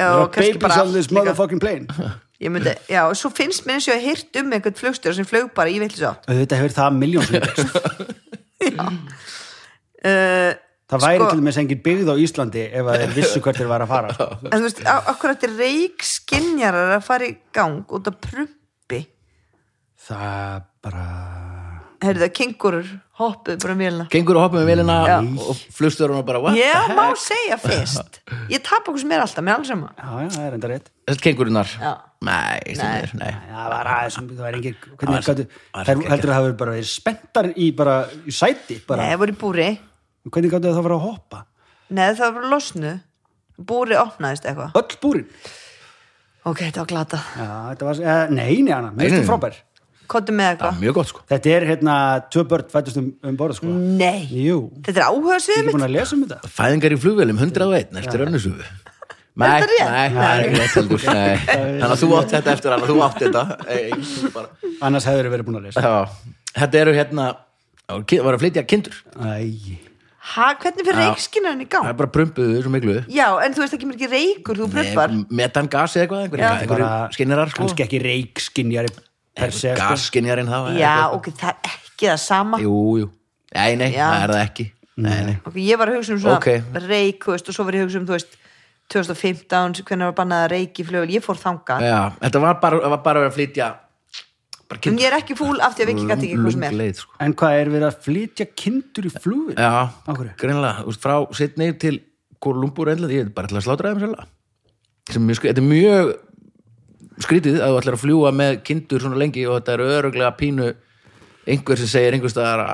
D: Já, og
C: babies
D: kannski bara
C: on this
D: allt líka.
C: motherfucking plane
D: Ég myndi, já, og svo finnst mér eins og ég hýrt um einhvern flugstjóra sem flög bara í villisátt
C: auðvitað hefur það miljón sinnum.
D: uh,
C: það væri
D: Sko-
C: til dæmis engin byggð á Íslandi ef að þeir vissu hvert þeir var að fara *laughs* sko.
D: en þú veist, á- akkur þetta reik skinjarar að fara í gang út af prumpi
C: það bara
D: heyrðu það, kengurur hoppuð bara um vélina
B: Gengur og hoppum með velina
D: Já.
B: og flugstur hún bara What?
D: ég má segja fyrst ég tap okkur sem er alltaf, mér er alls sama
C: já, já, það er enda rétt
B: Þetta kengurinnar
D: Já.
B: Nei,
D: Nei.
B: stemir, nei.
C: það var aðeins um- það var engin hvernig
B: Það var-
C: gætu
B: var
C: þær
B: ekki-
C: heldur að hafa bara verið spenntar í bara í sæti bara
D: Nei, það voru í búri
C: hvernig gætu það að fara að hoppa
D: Nei, það voru losnu búri opnaðist eitthvað
C: öll búrin
D: ok, þetta var glata
C: já, þetta var eh, nei, nei, Anna mér
B: Nei,
C: finnst
B: nei.
C: þú frábær
D: kottu með
B: Það
D: eitthvað
B: er mjög gott sko
C: þetta er hérna tvö börn fættust um, um borð sko
D: nei,
C: jú
D: þetta er áhuga
C: ég er
D: sviðið
C: ekki
D: mitt
C: búin að lesa um þetta
B: Fæðingar í flugvélum 101 eftir önnusugu Nei,
D: Er þetta
B: nei,
D: rétt?
B: það er ekki rétt heldur nei. Þannig að þú átt þetta eftir hana, þú átt þetta Ei, þú bara-
C: annars hefur verið búin að lesa
B: Já. Þetta eru hérna Það var að flytja kindur
C: æj
D: ha, hvernig fyrir reikskinnarinn í
B: Það
D: gang
B: er bara prumpuðu svo miklu
D: já, en þú veist ekki mér ekki reikur þú prumpar
B: Metangas eða eitthvað, einhverjum,
D: Já.
B: einhverjum skinnirar sko
C: kannski ekki reikskinjari per se sko.
B: Gasskinjarinn það var
D: Já, ok, það er ekki það sama
B: Jú, jú, nei, nei,
D: Já.
B: það er það ekki Nei, nei,
D: Ok, ég var að hugsa um svona
B: Ok.
D: reik, þú veist, og svo var ég að hugsa um, þú veist 2015, hvernig var bannað að reik í flugul ég fór þangað,
B: já, þetta var bara, var bara að flytja bara
D: en
B: kindur
D: ég er ekki fúl af því að við ekki gæti ekki hvað sem
B: Löng
D: er
B: leið, sko
C: en hvað er verið að flytja kindur í flugvil
B: Já,
C: Á hverju?
B: greinlega, úst, frá Sydney til Kolumbur endlandi, ég er bara ætla að slátra þeim sjálf sem er mjög, skri- þetta er mjög skrítið að þú ætlar að fljúga með kindur svona lengi og þetta er öruglega pínu einhver sem segir einhver staðar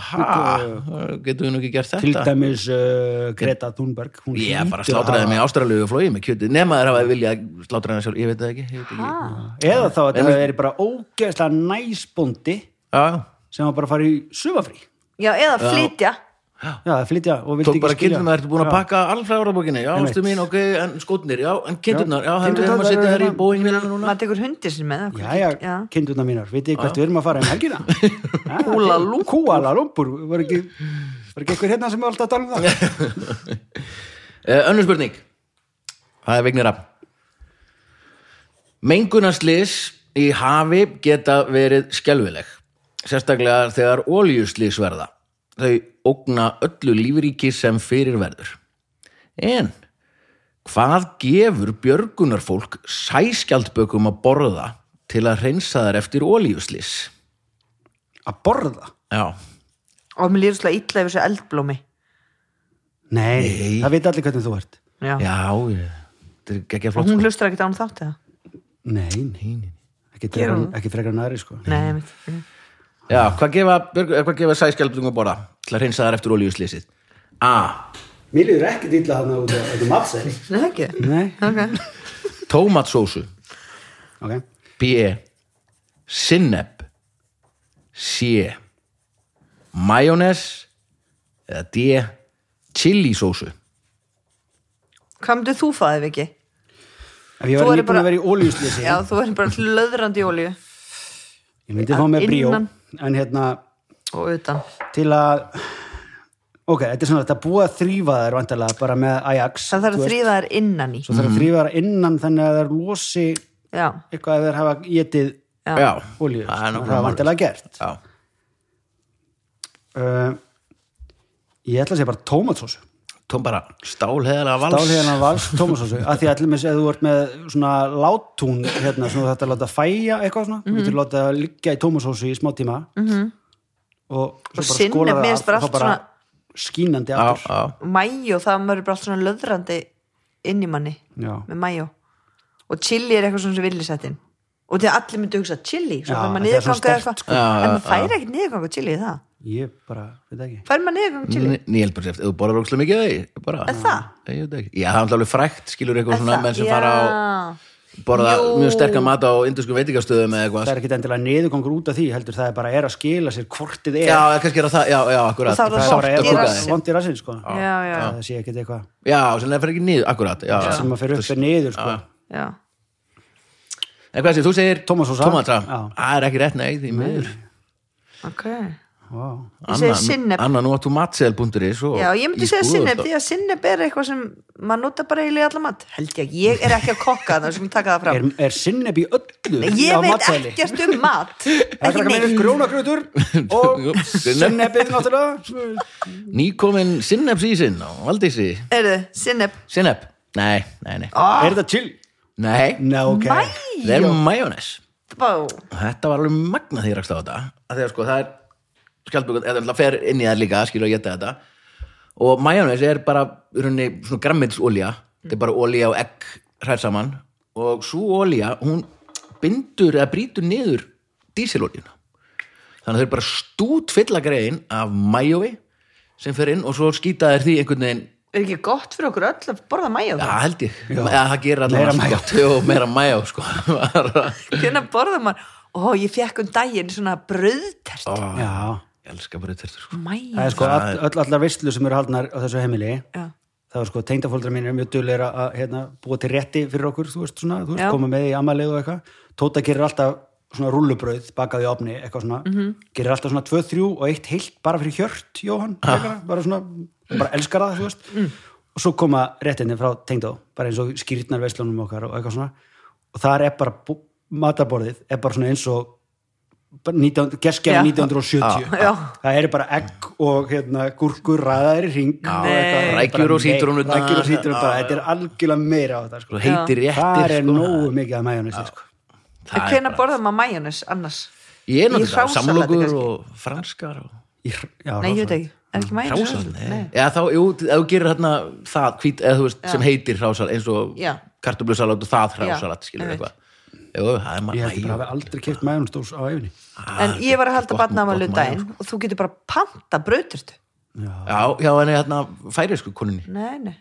B: aha, getur við nú ekki gert
C: til
B: þetta
C: dæmis uh, Greta Thunberg hún
B: ég
C: hlýtur
B: bara
C: að
B: slátraði
C: hafa-
B: mig ástralegu og flóið með kjötið, nema þeir hafa viljað slátra þeim sjálf, ég veit það ekki, ég veit ekki.
C: eða þá að það er bara ógeðslega næsbóndi
B: Já, já,
C: sem var bara að fara í sumafrí
D: Já, eða flytja
C: já, að flytja og vildi
B: tók
C: ekki
B: bara
C: skilja
B: kindurnar, ertu búin að
C: Já.
B: pakka alfræð orðabókinni, já,
C: Einmitt.
B: ástu mín, ok, en skotnir, já, en kindurnar, já, það
C: Kindurnar,
B: er um að
C: þær eru
B: setja þær í
C: hérna-
B: bóingvinna núna.
D: maður tekur hundir sinni með
C: já, já,
D: já.
C: kindurna mínar, vitið þið hvert við erum að fara um
B: *laughs*
C: helgina Kúla Lumpur Kúla Lumpur, var ekki var ekki einhver hérna sem var alltaf að tala um
B: *laughs*
C: það
B: Uh, önnur spurning Það er Vignir Rapp Mengunaslis í hafi geta verið skelfileg sérstaklega þegar óljuslis verða þau ógna öllu lífríki sem fyrir verður En hvað gefur björgunarfólk sæskjaldbökum að borða til að reynsa þær eftir óljuslis?
C: að borða?
B: Já,
D: og mér líður svolítið illa yfir þessu eldblómi
C: Nei,
B: Nei.
C: það veit allir hvernig þú ert
D: já.
B: já, ég- þetta er ekki að
D: og
B: flott
D: hún
B: sko.
D: hlustar ekkert án þátt eða
C: Nei, nei,
B: Nei, nei.
C: ekki
D: Gerum
C: frekar-
D: það.
C: ekki frekar en aðri sko
D: Nei, einmitt.
B: Já, hvað gefa, björg, eh, hvað gefa sæskjaldbökum að borða til að reynsa þar eftir olíuslýsið? A.
C: Mér líður ekkert illa þarna út af þetta matsæri.
D: Nei, það ekki
C: Nei,
D: okay.
B: Tómatsósu
C: ok.
B: B. Sinneb C. Majónes eða D. Chilisósu
D: Hvað myndir þú fæðið, Viki?
C: Ef ég
D: Þú
C: var
D: væri
C: nýbúin
D: bara-
C: að vera í óljúslýsi,
D: Já, þú erum bara löðrandi í olíu
C: ég myndi þá með bríó,
D: Innan.
C: en hérna
D: og utan
C: til að, ok, þetta er svona þetta búa að þrýfa þær vantarlega bara með Ajax.
D: það þarf
C: þú
D: að
C: veist.
D: þrýfa þær innan í
C: Svo
B: Mhm.
C: þarf að þrýfa þær innan þannig að þær losi
D: Já,
C: eitthvað að þær hafa getið
D: Já.
B: Já,
C: olíu.
B: það er
C: það
B: nokkuð
C: er
B: málið.
C: vantarlega gert.
B: Já,
C: Uh, ég ætla að segja bara tómatsósu.
B: tóm bara stálheðalega vals
C: Dálhegðan vals tómatsósu. Af því að allir með, ef þú ert með svona látún, hérna, svona þetta láta fæja eitthvað svona,
D: Mhm.
C: þú getur láta að liggja í tómatsósu í smá tíma. og svo
D: Og
C: bara
D: sinnep,
C: skóla það
D: mér finnst bara
C: af og
D: allt
C: þá bara
D: svona-
C: skínandi
B: Já,
C: aftur
B: já,
D: mæjó, það verður bara allt svona löðrandi inn í manni
C: Já.
D: með mæjó og chili er eitthvað svona sem villi settin og því að allir myndu hugsa chili svo
C: Já,
D: fær maður
C: þetta er svona sko.
D: niðurganga
C: sterkt,
D: eitthvað en maður fær ekkert niðurganga chili í það
C: ég bara, veit ekki
D: fær maður niðurganga chili
B: Ný- Ég held bara eftir, þú borðar ókslega mikið af því bara,
D: Er það?
B: Ég veit ekki. Já, það er alltaf alveg frækt skilur eitthvað svona menn sem fara á
D: á
B: borða
D: Jú.
B: mjög sterkan mat á induskum veitingastöðum
C: það
B: eða eitthvað
C: er ekkit endilega niðurgangur út af því heldur það er bara er að skila sér hvortið er
B: já, kannski er það, já, já, akkurat
D: Og þá er
C: það er
D: sárt
C: bara
D: að
C: er
D: kúka
C: bara
D: þig.
C: vond í rassin sko.
D: já, já, já.
C: það sé ekkit eitthvað
B: já, sem það fyrir ekki niður, akkurat já, já.
C: sem að fyrir upp er niður sko.
B: en hvað sé, þú segir
C: Tómatsósa.
B: tómatsósa.
C: Já.
B: það er ekki rétt, nei, því miður
D: ok
C: Vá.
D: Ég segi sinnep.
B: Anna, nú áttu matseðal.is og-
D: já, ég myndi
B: í
D: segja
B: skoðun-
D: sinneb því að sinneb er eitthvað sem maður nota bara eiginlega í alla mat held ég, ég er ekki að kokka þannig sem ég taka það
C: er,
D: fram
C: er sinneb í öllu
D: Nei,
C: á
D: ég veit
C: matseðli?
D: ekkert
C: *laughs*
D: um mat
C: Það
D: ekki
C: er ekki
D: neitt
C: grjónagrutur
B: Jú,
C: og
B: sinnep.
C: sinnebið náttúrulega
B: nýkomin sinnepsísinn á Valdísi
D: Heyrðu, sinneb
B: sinnep, nei, nei, nei
C: Er þetta chill?
B: nei,
C: Nei, ok
B: það er majónes
D: Vá.
B: þetta var alveg magna því ég rakst á þetta að því að sko það er skjaldbökun, eða það fer inn í það líka skilur að geta þetta og majónes er bara í rauninni svona grammilsolja þetta er bara olja og egg hræð saman og svo olja hún bindur eða brýtur niður dísiloljuna þannig að þau eru bara stút fylla grein af majói sem fer inn og svo skýta þær því einhvern veginn
D: er ekki gott fyrir okkur öll að borða mæjó
B: Já, held ég, eða það gerir allavega
C: Meira
B: svo
C: mayo.
B: gott. Jú, meira mæjó sko. *laughs* Bara-
D: hvernig borða maður ó, ég fekk um daginn svona bröðtert oh.
C: Já,
B: Ég elska bara þetta sko.
C: það
D: mæjó
C: er sko all, öll allar veistlu sem eru haldnar á þessu heimili
D: já,
C: það er sko tengdafóldra mín er mjög duglegur að- að hérna, búa til rétti fyrir okkur þú veist svona, þú veist,
D: Já.
C: koma með í amalegu og eitthvað Tóta gerir alltaf svona rúllubrauð bakað í opni, eitthvað svona
D: Mhm.
C: gerir alltaf svona 2-3 og eitt heilt bara fyrir hjört Jóhann, ah. bara svona bara elskar það, þú veist
D: Mm.
C: og svo koma réttinni frá tengdó bara eins og skýrtnar veislunum okkar og eitthvað svona og þar er bara bú- matarborðið er bara svona eins og bara 19, gerskjæra
D: Já.
C: 1970
D: Já.
C: það eru bara egg og hérna, gúrkur ræðar í ring og eitthvað.
B: Rækjur
C: Bara
B: og sítrónurnar.
C: mei- rækjur og sítrónurnar, þetta er algjörlega meira á þetta
B: Svo
C: sko.
B: heitir
C: þar
B: réttir
C: er
B: sko.
C: nógu mikið að mæjónist sko.
B: Það er bara-
D: hvernig borða maður mæjónis annars
B: Ég er
D: Í
B: náttúrulega
D: hrásalati
B: samlokur
D: kannski.
B: og franskar og
C: Í hr- já,
D: nei, ég
C: rosalegt.
D: veit ekki, er ekki mæjónis
B: hrásal Já, þá, jú, ef þú gerir hérna það hvít, eða þú veist, sem heitir hrásal eins og
D: Já.
B: kartublusalat og það hrásalat
D: Já,
B: skilur
D: ég veit.
B: eitthvað Jú, það er
C: ég held ég bara
B: maður
C: hafi aldrei keft mæjónstós á æfinni
D: en ég var að halda
B: Ah, gott-
D: batnaðamælu
B: gott mayo,
D: daginn og þú getur bara panta bröðtert
B: Já, já, henni hérna færi sko koninni
D: nei, nei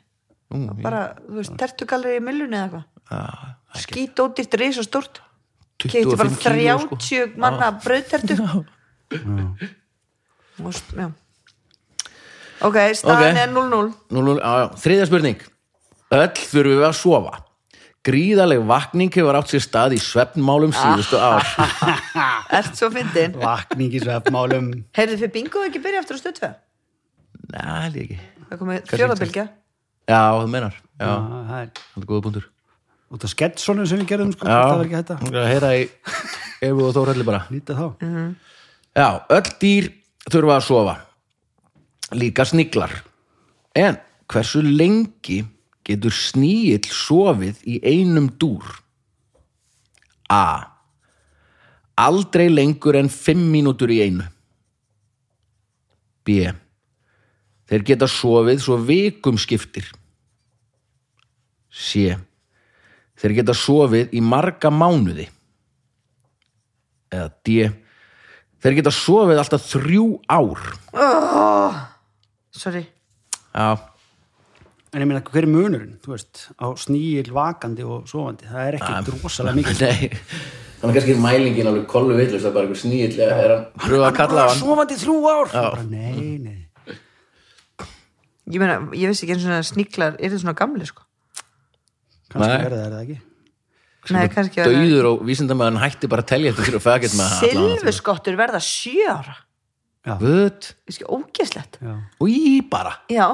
D: bara, þú
B: Ah.
D: veist, tertugallir í millunni eða eitthvað
B: Já,
D: skýt ódýrt reis og stórt
B: 25
D: kefti bara
B: kíló, sko.
D: 30 manna bröðtertu
B: *laughs*
D: Og st- já ok, staðan
B: Ok.
D: er 0-0
B: Nú, nú, á, þriðja spurning Öll þurfum við að sofa Gríðaleg vakning hefur átt sér stað í svefnmálum síðustu
D: Ah.
B: ár
D: ert svo
B: *laughs*
D: fyndin
C: vakning í svefnmálum
D: heyrðu fyrir bingo ekki byrja aftur á stöðtve
B: Nei, held ég ekki
D: það komið fjóðabilgja
B: Já, þú meinar Já,
C: Já, Ah, það er
B: það er góða punktur
C: út af sketsonum sem við gerðum sko,
B: Já,
C: það var ekki hægt að
B: Hún er að heyra í Efu og Þórhalli bara
C: nýta þá
B: Já, öll dýr þurfa að sofa Líka sniglar En hversu lengi getur sníill sofið í einum dúr? A Aldrei lengur en 5 mínútur í einu B Þeir geta sofið svo vikum skiptir C Þeir geta sofið í marga mánuði eða D Þeir geta sofið alltaf þrjú ár
D: sorry
B: Já,
C: en ég meina hver er munurinn, þú veist á snýil vakandi og sofandi það er ekki drosalega mikið
B: nei Þannig kannski er mælingin alveg kollu villust að bara einhver sníill er að pröfa að kalla á hann
C: sofandi í þrjú ár bara, nei, nei
D: ég meina, ég vissi ekki eins og sníklar er þetta svona gamli sko
C: kannski
B: Nei.
C: verða það ekki
D: nei, kannski var
B: Dauður og vísindamæðan hætti bara að telja þetta fyrir að fagett með
D: silfuskottur verða sjö ára
B: Vöt,
D: ég skil ógeðslegt
C: Já.
B: új bara
D: já,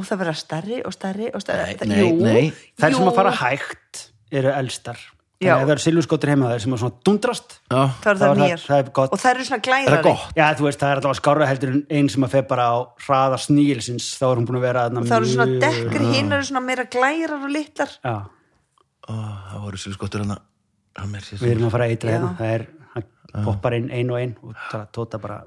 D: og það verða stærri og stærri og stærri
B: Nei, nei,
D: Jú,
B: nei.
C: þær sem
D: jú.
C: að fara hægt eru elstar þannig
D: Já.
C: að það eru silfurskottur heima þær sem að svona dundrast
B: Já,
C: þá
D: það eru
C: er
D: það
C: það-
D: nýjar
C: það er gott.
D: og það eru svona glærari
B: það er gott
C: já þú veist það er allavega skára heldur en einn sem að fer bara á hraða sníilsins þá er hún búin að vera þarna
D: það eru svona
C: mjög-
D: dekkri, hinn eru svona meira glærar og litlar
C: já,
B: Ó, Það voru silskottur hann að mér sér
C: við erum að fara að eitra hérna það er, hann poppar inn ein og ein og það tóta bara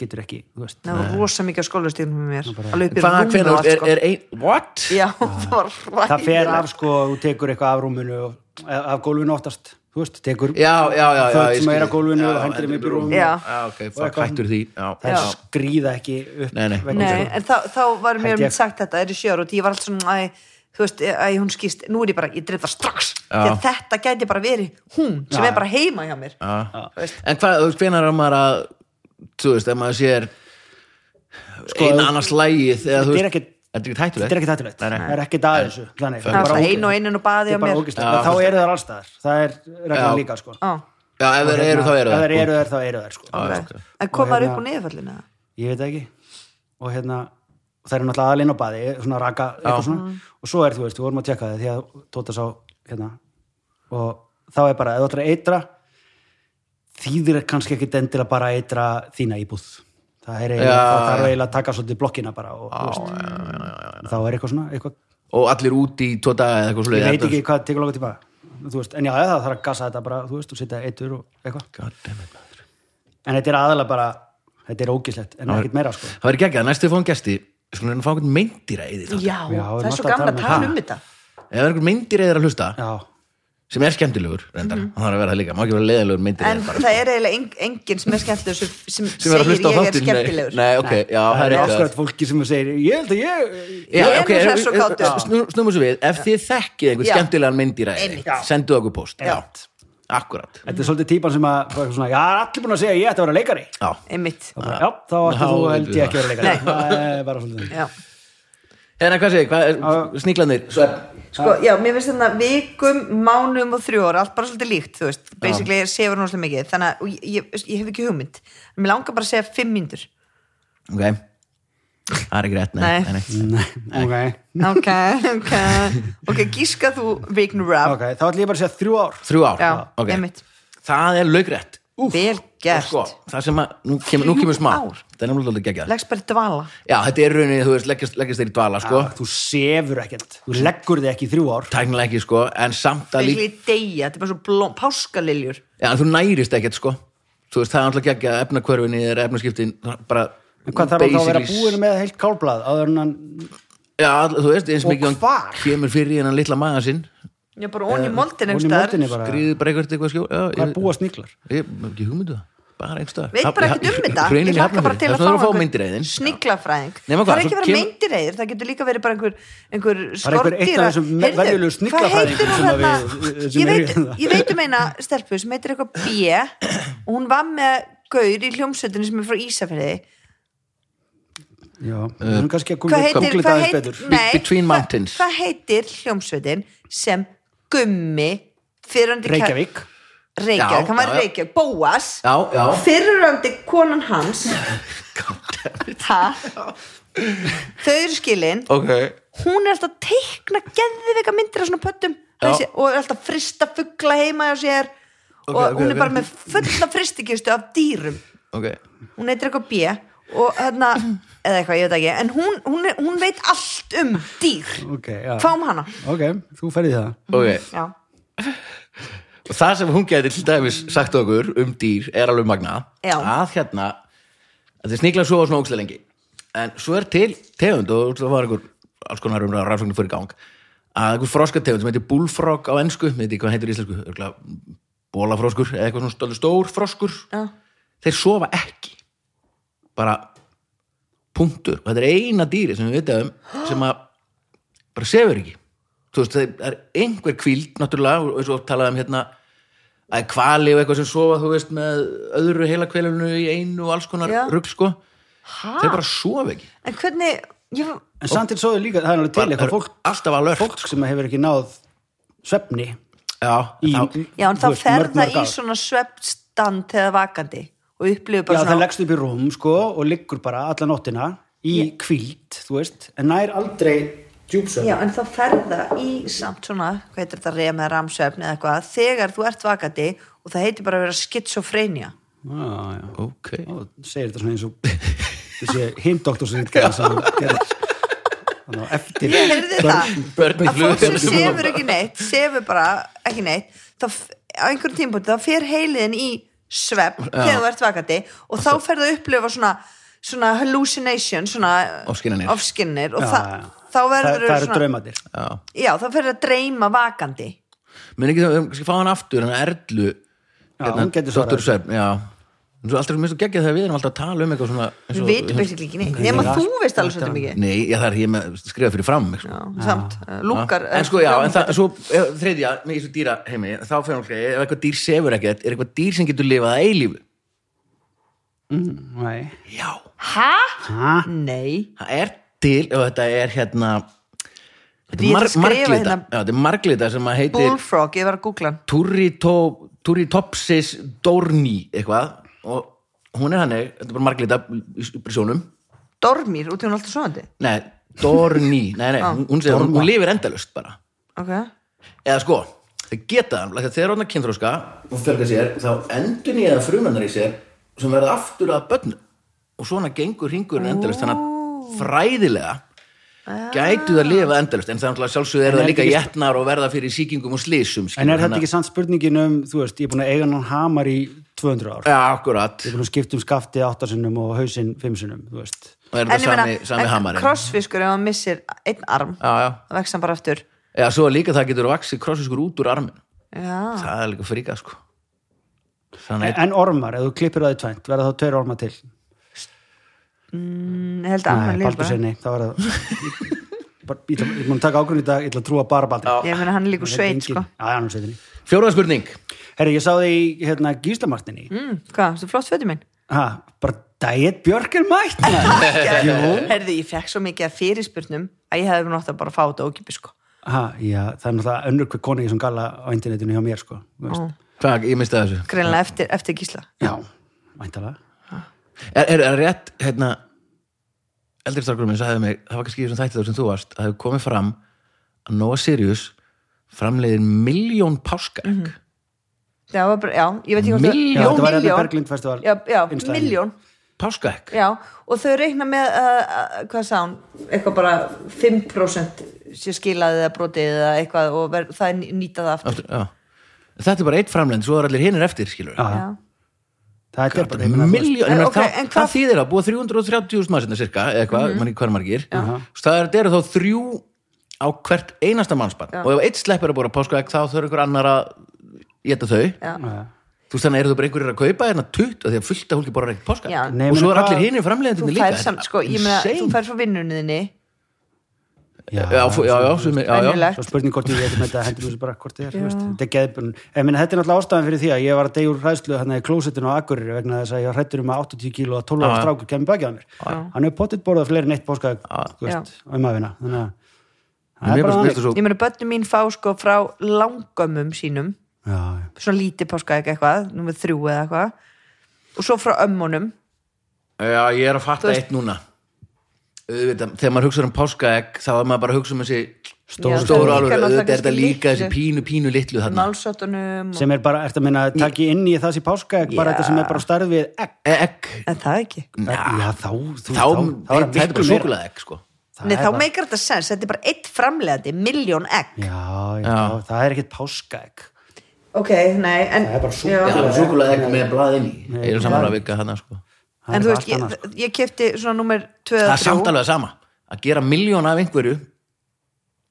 C: getur ekki þú veist
D: það var rosa mikið á skólastíðum með mér alveg upp í
B: Hvað,
D: rúmið
B: hvenær
D: og allt
B: er,
D: sko
B: er ein, what?
D: já, *laughs* það var ræðilegt
C: það fer af sko, þú tekur eitthvað af rúminu og, eh, af gólfinu oftast þú veist, tekur
B: Já, já, já, já
C: föt
B: ég
C: sem er á
B: skil.
C: gólfinu
B: Já,
C: og hendur þeim upp í rúminu
D: Já.
B: Já, ok, fuck, hættur því Já,
C: það
D: Já.
C: skrýða ekki upp
B: Nei, nei.
C: vegna
D: Nei,
C: þess.
D: en þá, þá var mér
C: Held ég-
D: mynd sagt þetta, er í sjör og ég var alltaf svona, æ, þú veist, að hún skýst nú er ég bara, ég dreif það strax
B: Já.
D: þegar þetta gæti bara verið hún sem
C: Já.
D: er bara heima hjá mér
B: Já.
D: Þú veist.
B: En hvað, þú veist, hvenar er maður að þú veist, ef maður sér eina annars lægið eða
C: Þetta
B: þú
C: er
B: veist,
C: ekkit-
B: þetta er ekki hættulegt
C: þetta er ekki þættilegt,
B: Nei, nei.
C: það er ekki dagið þessu þannig,
D: það er bara einu og einu og baði
C: þetta
D: á
C: er bara
D: mér
C: ógist þá
B: fullt-
C: eru þær allstaðar, það er reglan
B: Já.
C: líka sko.
D: Já,
B: Já, ef þeir eru þá eru sko.
C: ef þær
B: það
C: eru þær þá eru þær sko.
D: ok.
B: ok.
D: en komaður
C: hérna-
D: upp úr niðurfallinu eða?
C: ég veit það ekki og hérna, það eru náttúrulega aðalinn á baði svona raka, eitthvað svona og svo er þú veist, við vorum að tjekka það því að Tóta sá hérna og þá er bara, ef þú ætlar að eitra þýðir kannski ekki endilega bara að eitra þína íbúð það er eiginlega,
B: Já,
C: það þarf
B: já.
C: eiginlega að taka svolítið blokkina bara og þú veist, þá er eitthvað svona eitthvað,
B: og allir út í tvo daga eða eitthvað
C: ég
B: svoleiðis.
C: veit ekki hvað tekur lóka tíma þú veist, en já, það þarf að gasa þetta bara þú veist, og setja eitur og eitthvað
B: God damn it, maður.
C: en þetta er aðalega bara, þetta er ógislegt en ekkert meira sko
B: Það verður geggjað, næstu við fáum gesti við skulum reyna að fá einhvern meindýraeyði í þáttinn.
D: já,
C: Já,
D: það
C: við
D: er svo
C: mátt að
D: gaman að
C: tala um
D: tala
C: það.
D: um þetta
B: Ef það er einhvern meindýraeyðar að hlusta
C: já, Mhm.
B: sem er skemmtilegur, reyndar, hann þarf að vera það líka má ekki vera leiðilegur
D: en
B: meindýraeyðar bara
D: það er eiginlega eng- enginn sem er skemmtilegur sem, sem,
B: sem er að
D: segir
B: hlusta á
D: ég er
B: þáttinn, nei.
D: skemmtilegur
B: Nei, ok, já, það er eitthvað
C: áskrætt fólki sem segir ég held að ég
B: Já,
D: Ég er
B: ok,
D: nú hress og kátur.
B: snúmum svo við ef þið þekkið einhvern
D: Já.
B: skemmtilegan myndýræði
D: Einmitt. Já.
B: sendu okkur post
D: Já.
B: akkurat
C: þetta er svolítið típan sem að bara eitthvað svona, já, allir búin að segja að ég ætti að vera leikari
B: Já.
D: einmitt
C: Þá bara, já, þá ætti
B: Já,
C: þú held
B: veitum
C: ég ekki að vera leikari það er bara svolítið
D: já
B: hérna hvað segir, hvað er sníklanir svefn,
D: Sko, já, mér finnst þarna vikum, mánum og þrjú ára, allt bara svolítið líkt, þú veist basically ég sefur náttúrulega mikið, þannig að og ég, ég, ég hef ekki hugmynd, mér langar bara að segja fimm mínútur,
B: ok það er ekki rétt, nei,
D: Nei.
B: nei. nei.
C: ok,
D: ok, ok ok, gíska þú vikn rap,
C: ok, þá ætla ég bara að segja þrjú ár
B: þrjú ár,
D: já,
B: ok
D: einmitt
B: það er laugrætt Úff,
D: Vel
B: og
D: gert.
B: sko, það sem að, nú kemur, nú
D: Þrjú
B: kemur smá
D: ár.
B: það er náttúrulega geggjað
D: leggst bara í dvala
B: já, þetta er rauninni, þú veist, leggjast, leggjast þeir í dvala sko.
C: Ah, þú sefur ekkert, þú leggur þig ekki í þrjú ár
B: tæknilega ekki, sko, en samt að líka
D: basically deyja, þetta er bara svo blóm, páskaliljur
B: já, en þú nærist ekkert, sko þú veist, það er náttúrulega geggjað, efnakvörfinni er efnaskiptin bara
C: En hvað þarf hann þá að vera
B: basically
C: búin um- með heilt kálblað áður en hann
B: Já, all- þú veist, eins
C: Og
B: mikið hann
C: hvar?
B: kemur fyrir hennan litla maður sinn
D: já, bara onni í moldin
C: hún í
D: einhvers
C: mótinni
D: staðar.
C: bara,
B: gríður bara eitthvað eitthvað skjó Já,
C: hvað
B: ég-
C: er búa sníklar
B: Ég hef ekki hugmyndu það, bara einhverstað
D: veit bara ekkert um þetta ég hlakka bara til að fá
B: einhver
D: einhver sniglafræðing
B: Nema
D: það
B: hvað,
D: er
B: svo
D: ekki að
B: kemur-
D: vera kem... meindireiður, það getur líka verið bara einhver, einhver
C: sko, er einhver eitt
D: skordýra
C: af þessum venjulegu sniglafræðingum sem að við- sem
D: hérna? ég,
C: eru
D: veit,
C: hérna.
D: ég veit um eina stelpu sem heitir eitthvað B og hún var með gaur í hljómsveitinu sem er frá Ísafriði
C: já,
B: Eh,
C: hún er kannski að
D: hvað
C: googla
D: heitir,
C: googla
D: hvað
C: það aðeins
D: heitir
C: betur
D: nei,
B: Between
D: hvað-
B: Mountains.
D: hvað heitir hljómsveitin sem gummi fyrrandi
C: Reykjavík,
B: Já,
D: Reykjavík, hann var
B: já,
D: í
B: já.
D: Reykjavík, Bóas
B: Já, já.
D: fyrrandi konan hans ha *laughs* þau eru skilin
B: Ok,
D: hún er alltaf að teikna geðvika myndir af svona pöttum
B: Já.
D: þessi, og er alltaf að frista fuggla heima hjá sér
B: Ok,
D: og
B: ok,
D: hún er
B: ok.
D: bara með fulla fristikistu af dýrum
B: ok
D: hún heitir eitthvað B og hérna, eða eitthvað, ég veit ekki en hún, hún, er, hún veit allt um dýr
C: ok, já
D: hvað um hana
C: ok, þú ferði það
B: Ok,
D: já,
B: og það sem hún geti til dæmis sagt okkur um dýr er alveg magna
D: Já.
B: að hérna að þið sníkla svo á svona ókslega lengi en svo er til tegund og það var einhver alls konar umræða rannsóknir fyrir gang að einhver froskategund sem heitir bullfrog á ensku, með því hvað hann heitir í íslensku örgulega bólafroskur eða eitthvað svona stór, stór froskur
D: já,
B: þeir sofa ekki bara punktur og þetta er eina dýri sem við veitum sem að bara sefur ekki þú veist, það er einhver kvíld náttúrulega, og eins og talaði um hérna að kvali og eitthvað sem sofa þú veist með öðru heila kvelinu í einu og alls konar
D: Já.
B: rugl sko
D: ha?
B: þeir bara sofa ekki
D: en hvernig ég,
C: en samt til svo er líka, það er alveg til
B: Bara
C: eitthvað
B: eru
C: fólk
B: alltaf alveg
C: fólk sem hefur ekki náð svefni
B: já,
C: í,
B: þá,
D: já, en
C: þú
D: það
C: veist,
D: fer
C: mörg, mörg
D: það í
C: ár.
D: svona sveppstand eða vakandi og upplifir
C: Já,
D: bara
C: það
D: svona
C: leggst upp í rúm sko og liggur bara alla nóttina í yeah. kvíld, þú veist en nær aldrei djúpsöfn
D: Já, en þá ferða í samt svona, hvað heitir þetta, rem eða ramsvefni eða eitthvað, þegar þú ert vakandi og það heitir bara að vera skitsofrenia.
C: já, Ah, já.
B: ok
C: Ó, segir þetta svona eins og þessi hindoktorsritgerð sem hún gerði þannig að eftir
D: Ég heyrði það,
B: börn í
D: að fólk sem
B: flugelda.
D: sefur ekki neitt, sefur bara ekki neitt, þá f- á einhverjum tímpúti, þá fer heiliðin í svefn þegar þú ert vakandi og þá ferðu að upplifa svona, svona hallucination, svona
B: Ofskynjanir.
D: ofskinnir og
C: Já,
D: það,
C: já.
D: þá
C: það,
D: verður
C: það eru draumadir
B: já.
D: Já, þá ferðu að dreyma vakandi.
B: menn ekki það, við erum kannski að fá hann aftur hann Erlu
C: hún getur svarað
B: Dr. Svefn, Hérna, já Þú er alltaf minnst og geggja þegar við erum alltaf að tala um eitthvað svona eins og-
D: Við vitum basically ekki neitt nema þú veist alveg svolítið mikið
B: Nei, ég þarf ég með skrifa fyrir fram sko.
D: Já, samt, eh, lúkar
B: En sko já, en það, svo eh, þriðja, með þessu dýra heimi þá fyrir hún hlutlega, ef eitthvað dýr sefur ekkert er eitthvað dýr sem getur lifað að eilífu
C: Nei.
B: Já,
D: Hæ?
C: Ha?
D: Ah, Nei
B: það er til og þetta er hérna þetta er
D: Ég ætla
B: mar
D: að skrifa
B: marglita,
D: hérna.
B: já, þetta er marglita sem að heitir
D: Bullfrog, ég var að googla hann
B: Turrito- Turritopsis dorni eitthvað og hún er hannig, þetta er bara marglita í í- í sjónum
D: Dormir, út í hún er alltaf svoandi
B: Nei, dorni, nei, nei, hún, hún, segir- hún, hún lifir endalust bara
D: Ok
B: eða sko, það geta það þegar þegar hún er kynþróska og fjölga sér þá endur nýjaða frumennar í sér sem verða aftur að börnum og svona gengur hringurinn endalust þannig að fræðilega gætu það lifa endalust en þannig að sjálfsögðu er
C: En er
B: það líka
C: þetta
B: jætnar og verða fyrir sýkingum og slísum
C: En er þetta ekki samt spurningin um, þú veist, ég er búin að eiga hann hamar í 200 ár.
B: Já, akkurat,
C: Ég er búin að skipta um skaftið áttasinnum og hausinn fimmsinnum, þú veist.
B: það er það sami, sami
D: en
B: hamarinn Ah.
D: krossfiskur ef hann missir einn arm
B: Já, já,
D: það vex hann bara aftur
B: já, svo líka það getur vaksið krossiskur út úr armin
D: Já,
B: það er líka fríka, sko
C: En,
B: Þannig,
C: en ormar, ef þú klippir það í tvænt, verða þá tveir ormar til.
D: mm, ég held að
C: Nei,
D: hann líka
C: Baldur
D: bara
C: segir nei, það *laughs* var það. Bara- Ég ætla- ég er búin að taka ákvörðin í dag, ég ætla að trúa bara Baldur.
D: Ég meina hann er líka úr sveit sko
C: Já, já, hann er sveitinni.
B: fjóraða spurning
C: Herri, ég sá þig í hérna, Gíslamartinni.
D: mm, Hvað, þú flott fötum minn?
C: Ha, bara Dæjet Björk er mætt
D: *laughs*
C: maður.
D: Herði, ég fekk svo mikið af fyrirspurnum að ég hefði nátt að bara fá þetta ókipi sko
C: ha, já, það er náttúrulega önnur hver koni sem gala á internetinu hjá mér sko þú veist.
B: Hvað, ég misti það þessu
D: greinlega eftir, eftir gísla
C: já, mæntalega
B: Er, er, er rétt, hérna eldri strákurum minn sagði mig það var kannski í þessum þætti þá sem þú varst að það hefur komið fram að Noah Sirius framleiðir miljón páskaegg
D: Mhm. já, var bara, já, ég veit ekki hvort
B: Milljón?
D: já,
B: Já,
C: þetta var hérna
D: milljón.
C: Berglind Festival
D: já, já,
C: innslagið.
D: miljón
B: páskaegg
D: já, og þau reikna með uh, uh, hvað sá hún, eitthvað bara 5% sé skilaði eða brotið eða eitthvað og ver, það er nýtað aftur
B: Aftur, já. þetta er bara eitt framleiðin, svo er allir hinir eftir skilur
C: Já,
D: já.
C: það er bara ég meina, þú veist,
B: miljón,
D: En,
B: en,
D: ok,
B: okay, það,
D: en hvað- Mhm.
B: það þýðir að búa 330.000 mannsina cirka, eða eitthvað, mm -hmm. mann í hver margir Svo það er, þetta eru þá þrjú á hvert einasta mannsbarn og ef eitt sleppur að búa páskaegg þá þurfa einhver annar að geta þau
D: Já.
C: Já.
B: Þú veist þannig, eru þú bara einhverjir að kaupa hérna tutt af því að fullta hólki borra ekki páska
D: Já. Nei,
B: og
C: menn,
B: svo er
C: hvað-
B: allir hinir
D: þú
B: framleiðandi líka
D: fær samt, sko, ég meina, þú fær frá vinnunniðinni
C: já,
B: Já, fú- já, já, sumi, já, já.
D: Venjulegt.
C: svo spurning hvort ég veit um þetta hendur mér þessu bara hvort þið er þú veist, þetta er geðbun en minna, þetta er náttúrulega ástæðan fyrir því að ég var að deyja úr hræðslu þannig að klósettinu á Akureyri vegna þess að ég var hrættur um að 80 kíló að 12 ára strákur kemur baki á mér hann hefur pottitt borðað fleiri en eitt páska þú veist, um aðvina þannig að það
B: Mér
C: er bara
B: finnst
C: þannig
B: þetta svo
D: ég meina, börnum mín fá sko frá langömmum sínum
C: Já, já.
D: svona lítið páskaegg eitthvað, nummer þrjú eða eitthvað og svo frá ömmunum
B: Já, ég er að fatta
D: Þú veist-
B: eitt núna Auðvitað, Þegar maður hugsa um páskaegg þá er maður bara að hugsa um þessi
D: Já,
B: stóru,
D: það
B: stóru
D: er
B: alveg,
D: líka náttúrulega
B: auðvitað er þetta
D: kannski
B: líka þessi
D: litlu.
B: pínu, pínu litlu þarna
D: málsóttunum og...
C: sem er bara, ertu að minna, takk ég inn í þessi páska ekki bara
D: Já.
C: þetta sem er bara starfið við egg
B: E- Egg,
D: en það ekki
C: já, þá, þú,
B: þá,
C: þá er
B: það er bara
C: miklu meira.
B: súkulega egg sko.
C: Það
D: Nei,
C: er
D: þá
C: bara-
D: meikar þetta sens, þetta er bara eitt framlegandi, miljón egg.
C: já, já,
B: Já.
C: þá- það er ekkert páska egg
D: Ok, nei, en...
C: Það er bara súkkulaði.
B: Já,
D: Já.
B: súkulega egg með blaðin í Ég er saman að vika þarna sko.
C: Það
D: En
C: er eitthvað
D: þú veist,
C: allt annað, sko.
D: ég, ég kefti svona númer
B: Það
D: 2 og
B: er
D: 3.
B: samtalið sama Að gera miljón af einhverju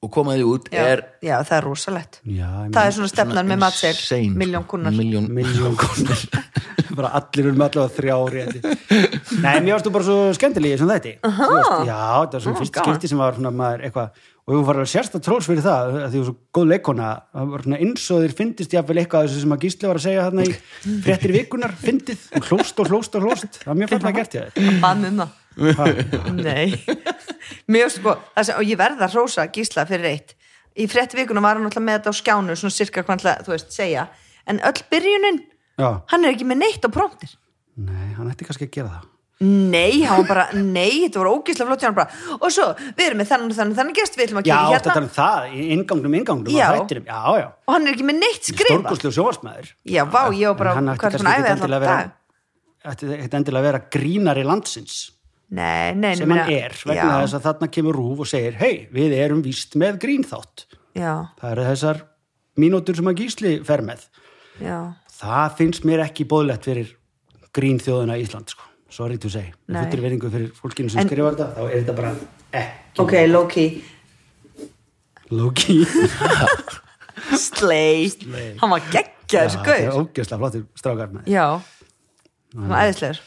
B: og koma því út
D: Já,
B: er
D: já, það er rosalegt.
C: sko. já,
D: Það er svona stefnan með matseg,
B: Insane, sko.
D: miljón kunnar.
B: Milljón-
C: miljón konur bara allir um allavega þrjá rétti nei, mér varst þú bara svo skemmtileg í þessum þætti Þú veist, já, það var svona fyrst
D: gaman.
C: skipti sem var svona maður eitthvað og þú var sérsta trós fyrir það að því þú var svo góð leikona það var svona eins og þér fyndist jáfnvel eitthvað af þessu sem að Gísli var að segja hérna í fréttir vikunar fyndið, Hún hlóst og hlóst og hlóst það var mjög fallega gert ég
D: Það bað mig um það. Nei. *laughs* Mér sko, það sem, og ég verða að rósa gísla fyrir eitt. Í frett vikuna var hann alltaf með þetta á skjánu, svona sirka hvað hann ætlaði, þú veist, segja. En öll byrjunin,
C: já,
D: hann er ekki með neitt á promptir.
C: nei, hann ætti kannski að gera það
D: Nei, hann var bara, *laughs* nei, þetta var ógísla flott hjá hann bara. Og svo, við erum með þannig, þannig, þannig gest, við ætlum að
C: já,
D: kíkja
C: hérna... þetta er um það, í inngangnum, inngangnum
D: Já.
C: já, þættirum, já, já,
D: og hann er ekki með neitt skrifa
C: stórkustlu sjóvarsmaður
D: já, vá, ég var bara,
C: En hann
D: hvað
C: ætti
D: er
C: kannski
D: svona æfið
C: ekkert
D: allan
C: endilega að vera
D: dag
C: ætti ekkert endilega að vera grínari landsins
D: nei, nei,
C: sem hann er, vegna
D: já,
C: þess að þarna kemur rúf og segir, hei, við erum víst með grínþátt,
D: já,
C: það eru þessar mínútur sem að gísli fer með
D: já,
C: það finnst mér ekki bóðlegt fyrir grínþjóðuna Ísland, sko sorry to say,
D: Nei.
C: þetta er veringu fyrir fólkinu sem
D: En-
C: skrifar þetta, þá er þetta bara ekki
D: ok, Loki
C: Loki,
D: *laughs* Slay, hann var geggjaður
C: það er
D: skaur
C: ógeðslega flottir strákar með
D: já, hann er æðislegur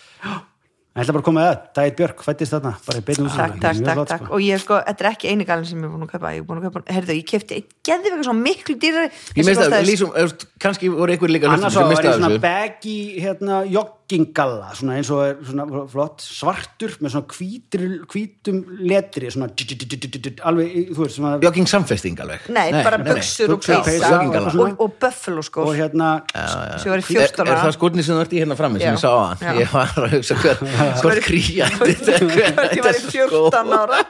C: Ég ætla bara að koma með það, Dæð Björk fættist þarna, bara í beinu
D: takk, takk, takk, takk og ég sko, þetta er ekki eini galin sem ég er búin að kaupa ég er búin að kaupa, heyrðu, ég kefti geðið eitthvað svona miklu dýrari
B: Ég
D: þessi
B: meist að,
D: kostaði-
B: lýsum, eftir, kannski voru einhver líka
C: Annars
B: hlustandi
C: var það
B: sem mistaði
C: svona
B: þessu.
C: baggy hérna, joggingalla, svona eins og er svona flott, svartur með svona hvítur, hvítum letri svona dj- dj- dj- dj- dj- alveg, í- þú veist, svona
B: Jogging samfesting alveg.
D: nei, bara buksur og
C: Buxur og
D: peysa
C: peysa
B: og
D: og,
C: eitthvað svona.
D: og, og buffalo sko
C: og hérna,
D: sem ég var í
B: Er,
D: 14
B: er það
C: sko-
D: ára
B: skotni sem þú ert í hérna frammi sem
D: Já.
B: ég sá á hann?
D: Já.
B: Ég var að hugsa
D: *laughs*
B: hver, hvort kríja
C: *laughs*
B: þetta
D: Hvort ég var í
C: sko-
D: 14 ára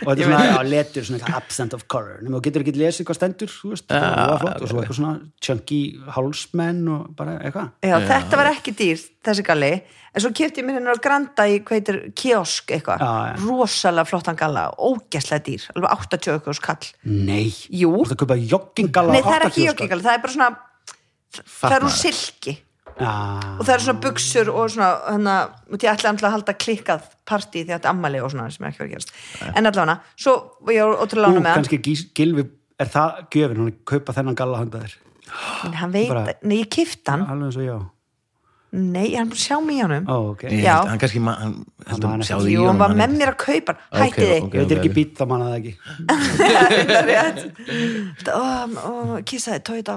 C: og þetta er svona á letur, svona eitthvað absent of color, nema þú getur ekki lesið hvað stendur, þú veist, það
B: Já,
C: var flott og svo eitthvað svona chunky hálsmenn og bara eitthvað.
D: Já, þetta var ekki dýr, þessi galli en svo kefti ég mér hennar á Granda í hvað heitir kiosk eitthvað,
C: Já, já.
D: rosalega flottan galla ógæslega dýr, alveg 80 eitthvað skall
C: Nei,
D: Jú.
C: þú ert að kaupa joggingalla
D: Nei, það er
C: sko.
D: ekki joggingalli, það er bara svona það er úr
B: Fatnaður.
D: silki
C: Já,
D: og það er svona buksur og svona hana, og ég ætlaði að halda klikkað partí því að þetta er ammali og svona sem er ekki verið að gerast en allavega, svo var ég var
C: Ú,
D: ótrúlega lána með hann
C: kannski gís, Gilvi er það gjöfin, hún er að kaupa þennan galla handa þér
D: en hann veit,
C: bara-
D: nei ég kifti hann
C: alveg eins og já
D: nei, hann er búin að sjá mig í honum
C: Ó, ok.
B: Ég
D: Já.
B: held- Hann kannski, ma- hann held
C: man
B: að
C: ekki.
B: sjá því
D: jú, hann var með mér að kaupa hann.
B: Ok,
D: hætti þig
C: Ég veit er ekki být, þá manna það ekki
D: oh, oh, kissaði tóita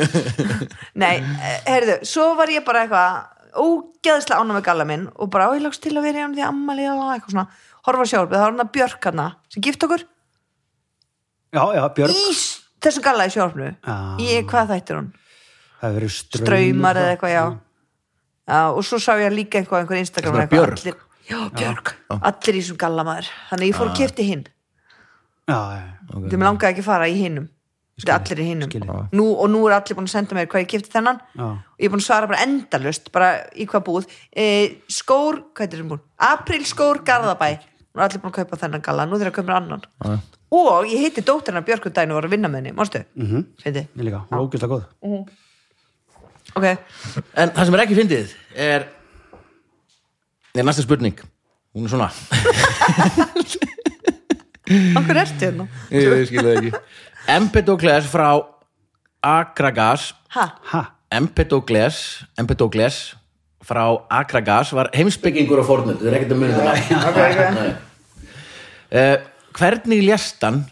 D: *laughs* nei, eh, heyrðu svo var ég bara eitthvað ógeðslega ánum með galla minn og bara, ó, ég lagst til að vera í hann því ammali og eitthvað svona, horfa sjálf það var hann að björk hann sem gift okkur
C: Já, já, Björg,
D: í s- þessum galla í sjálfnu
C: Ah.
D: í hvað þættir hún,
C: það hefur verið straumur
D: draumar eða eitthvað já. já, og svo sá ég líka eitthvað á einhver Instagram
B: Svona
D: eitthvað,
B: Björk?
D: allir, já, björk, allir í þessum galla maður þannig að ég fór að kipti hinn
C: Já, já,
D: okay. þeim langaði ekki að fara í hinnum þetta er allir í
C: skil.
D: hinnum nú, og nú er allir búin að senda mér hvað ég kipti þennan
C: Já.
D: og ég er búin að svara bara endalust bara í hvað búð e, skór, hvað heitir þeim búin? April skór Garðabæ nú er allir búin að kaupa þennan galla, nú þeir að kaupa annan og ég heiti dóttirna Björkundæn og var að vinna með henni, mástu?
C: Mhm.
D: Mm
C: ég líka, hún er ógæslega góð
D: ok,
B: En það sem er ekki fyndið er er næsta spurning Hún er svona
D: okkur ertu hérna
B: Ég skil það ekki Empedokles frá Akragas
D: ha,
C: Ha,
B: Empedokles Empedokles frá Akragas var heimsbyggingur á fornöld Þú er ekkert að muni það *laughs* okay, okay. Eh, Hvernig lést hann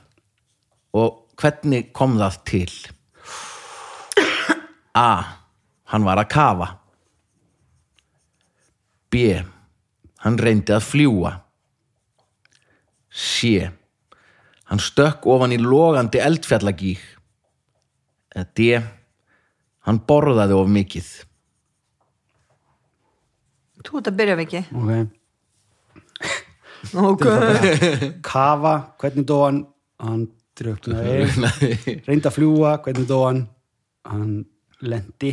B: og hvernig kom það til A Hann var að kafa B. Hann reyndi að fljúa. C. Hann stökk ofan í logandi eldfjallagík. Eða D. Hann borðaði of mikið.
D: þú ert að byrja mikið
B: *laughs*
C: ok
D: ok,
C: Kafa, hvernig dó hann hann dröknaði
B: *laughs*
C: reynda að fljúa, hvernig dó hann hann lendi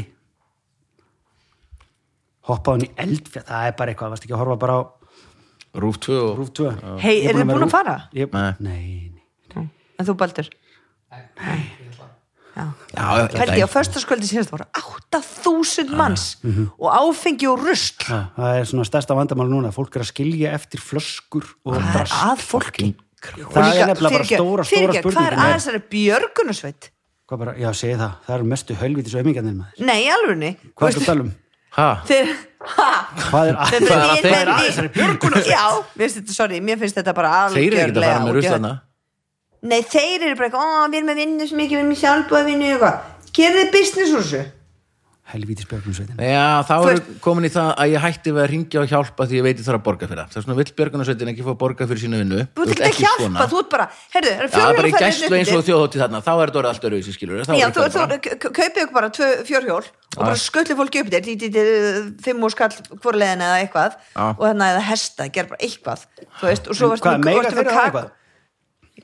C: hoppaði hann í eldfjall það er bara eitthvað, varst ekki að horfa bara á
B: Rúf 2 og...
C: Rúf 2
D: Hey,
C: Ég
D: eru þið
C: vera
D: búin að
C: Rúf-
D: fara?
C: Ég-
B: Nei.
C: Nei, nei
D: en þú Baldur nei, já
B: Já, já, já,
D: Pældi, á förstaskvöldi síðast voru
C: Ah,
D: 8000 manns
C: mhm.
D: og áfengi og rusl
C: Já, það er svona stærsta vandamál núna fólk er að skilja eftir flöskur og
D: það er
C: drast
D: að fólki
C: það er nefnilega bara stóra, stóra
D: hvað er
C: spurningin
D: að
C: er,
D: þessari björgunusveit?
C: hvað bara, já, segi það, það eru mestu hölvítis og emingarnir maður,
D: Nei, í alvörni
C: hvað er það að tala um
B: Ha?
D: Þeir, ha,
C: hvað er að,
D: þeir,
B: Hvað er að þeir-
D: að þessari björgunusveit? Já, mér finnst þetta, sorry, mér finnst þetta bara
B: Þeir eru ekki að fara
D: algjörlega
B: með
D: út í hött.
B: ruslana.
D: Nei, þeir eru bara eitthvað, ó, við erum að vinna svo mikið, við erum í sjálfbúðavinnu og eitthvað Gerðu þið business úr þessu?
C: helvítis björgunsveitin
B: Já, þá
D: Þú
B: eru komin í það að ég hætti við að ringja og hjálpa því ég veit ég þarf að borga fyrir það. Það er svona vill björgunarsveitin ekki fá að borga fyrir sína vinnu.
D: Þú ert ekki að hjálpa, þú ert bara, heyrðu, það
B: Já, það
D: eru
B: er bara í
D: fjórhjólaferðir
B: gæstlu eins
D: uppi.
B: og þjóðhótti þarna. Þá er þetta orðið allt öruvísi, skilur. við. Þá
D: Já,
B: er
D: þú,
B: þetta
D: þú
B: bara-
D: k- k- kaupið ykkur bara tvö fjórhjól og bara skullu fólki upp þér tí- tí- tí- fimm úr skall hvora leiðin eða eitthvað
B: Já.
D: og þannig eða hesta, gera bara eitthvað þú veist, og svo varstu
C: hvað,
D: með-
C: meira
D: varstu
C: þeirra
D: með
C: það
D: kakó
C: eitthvað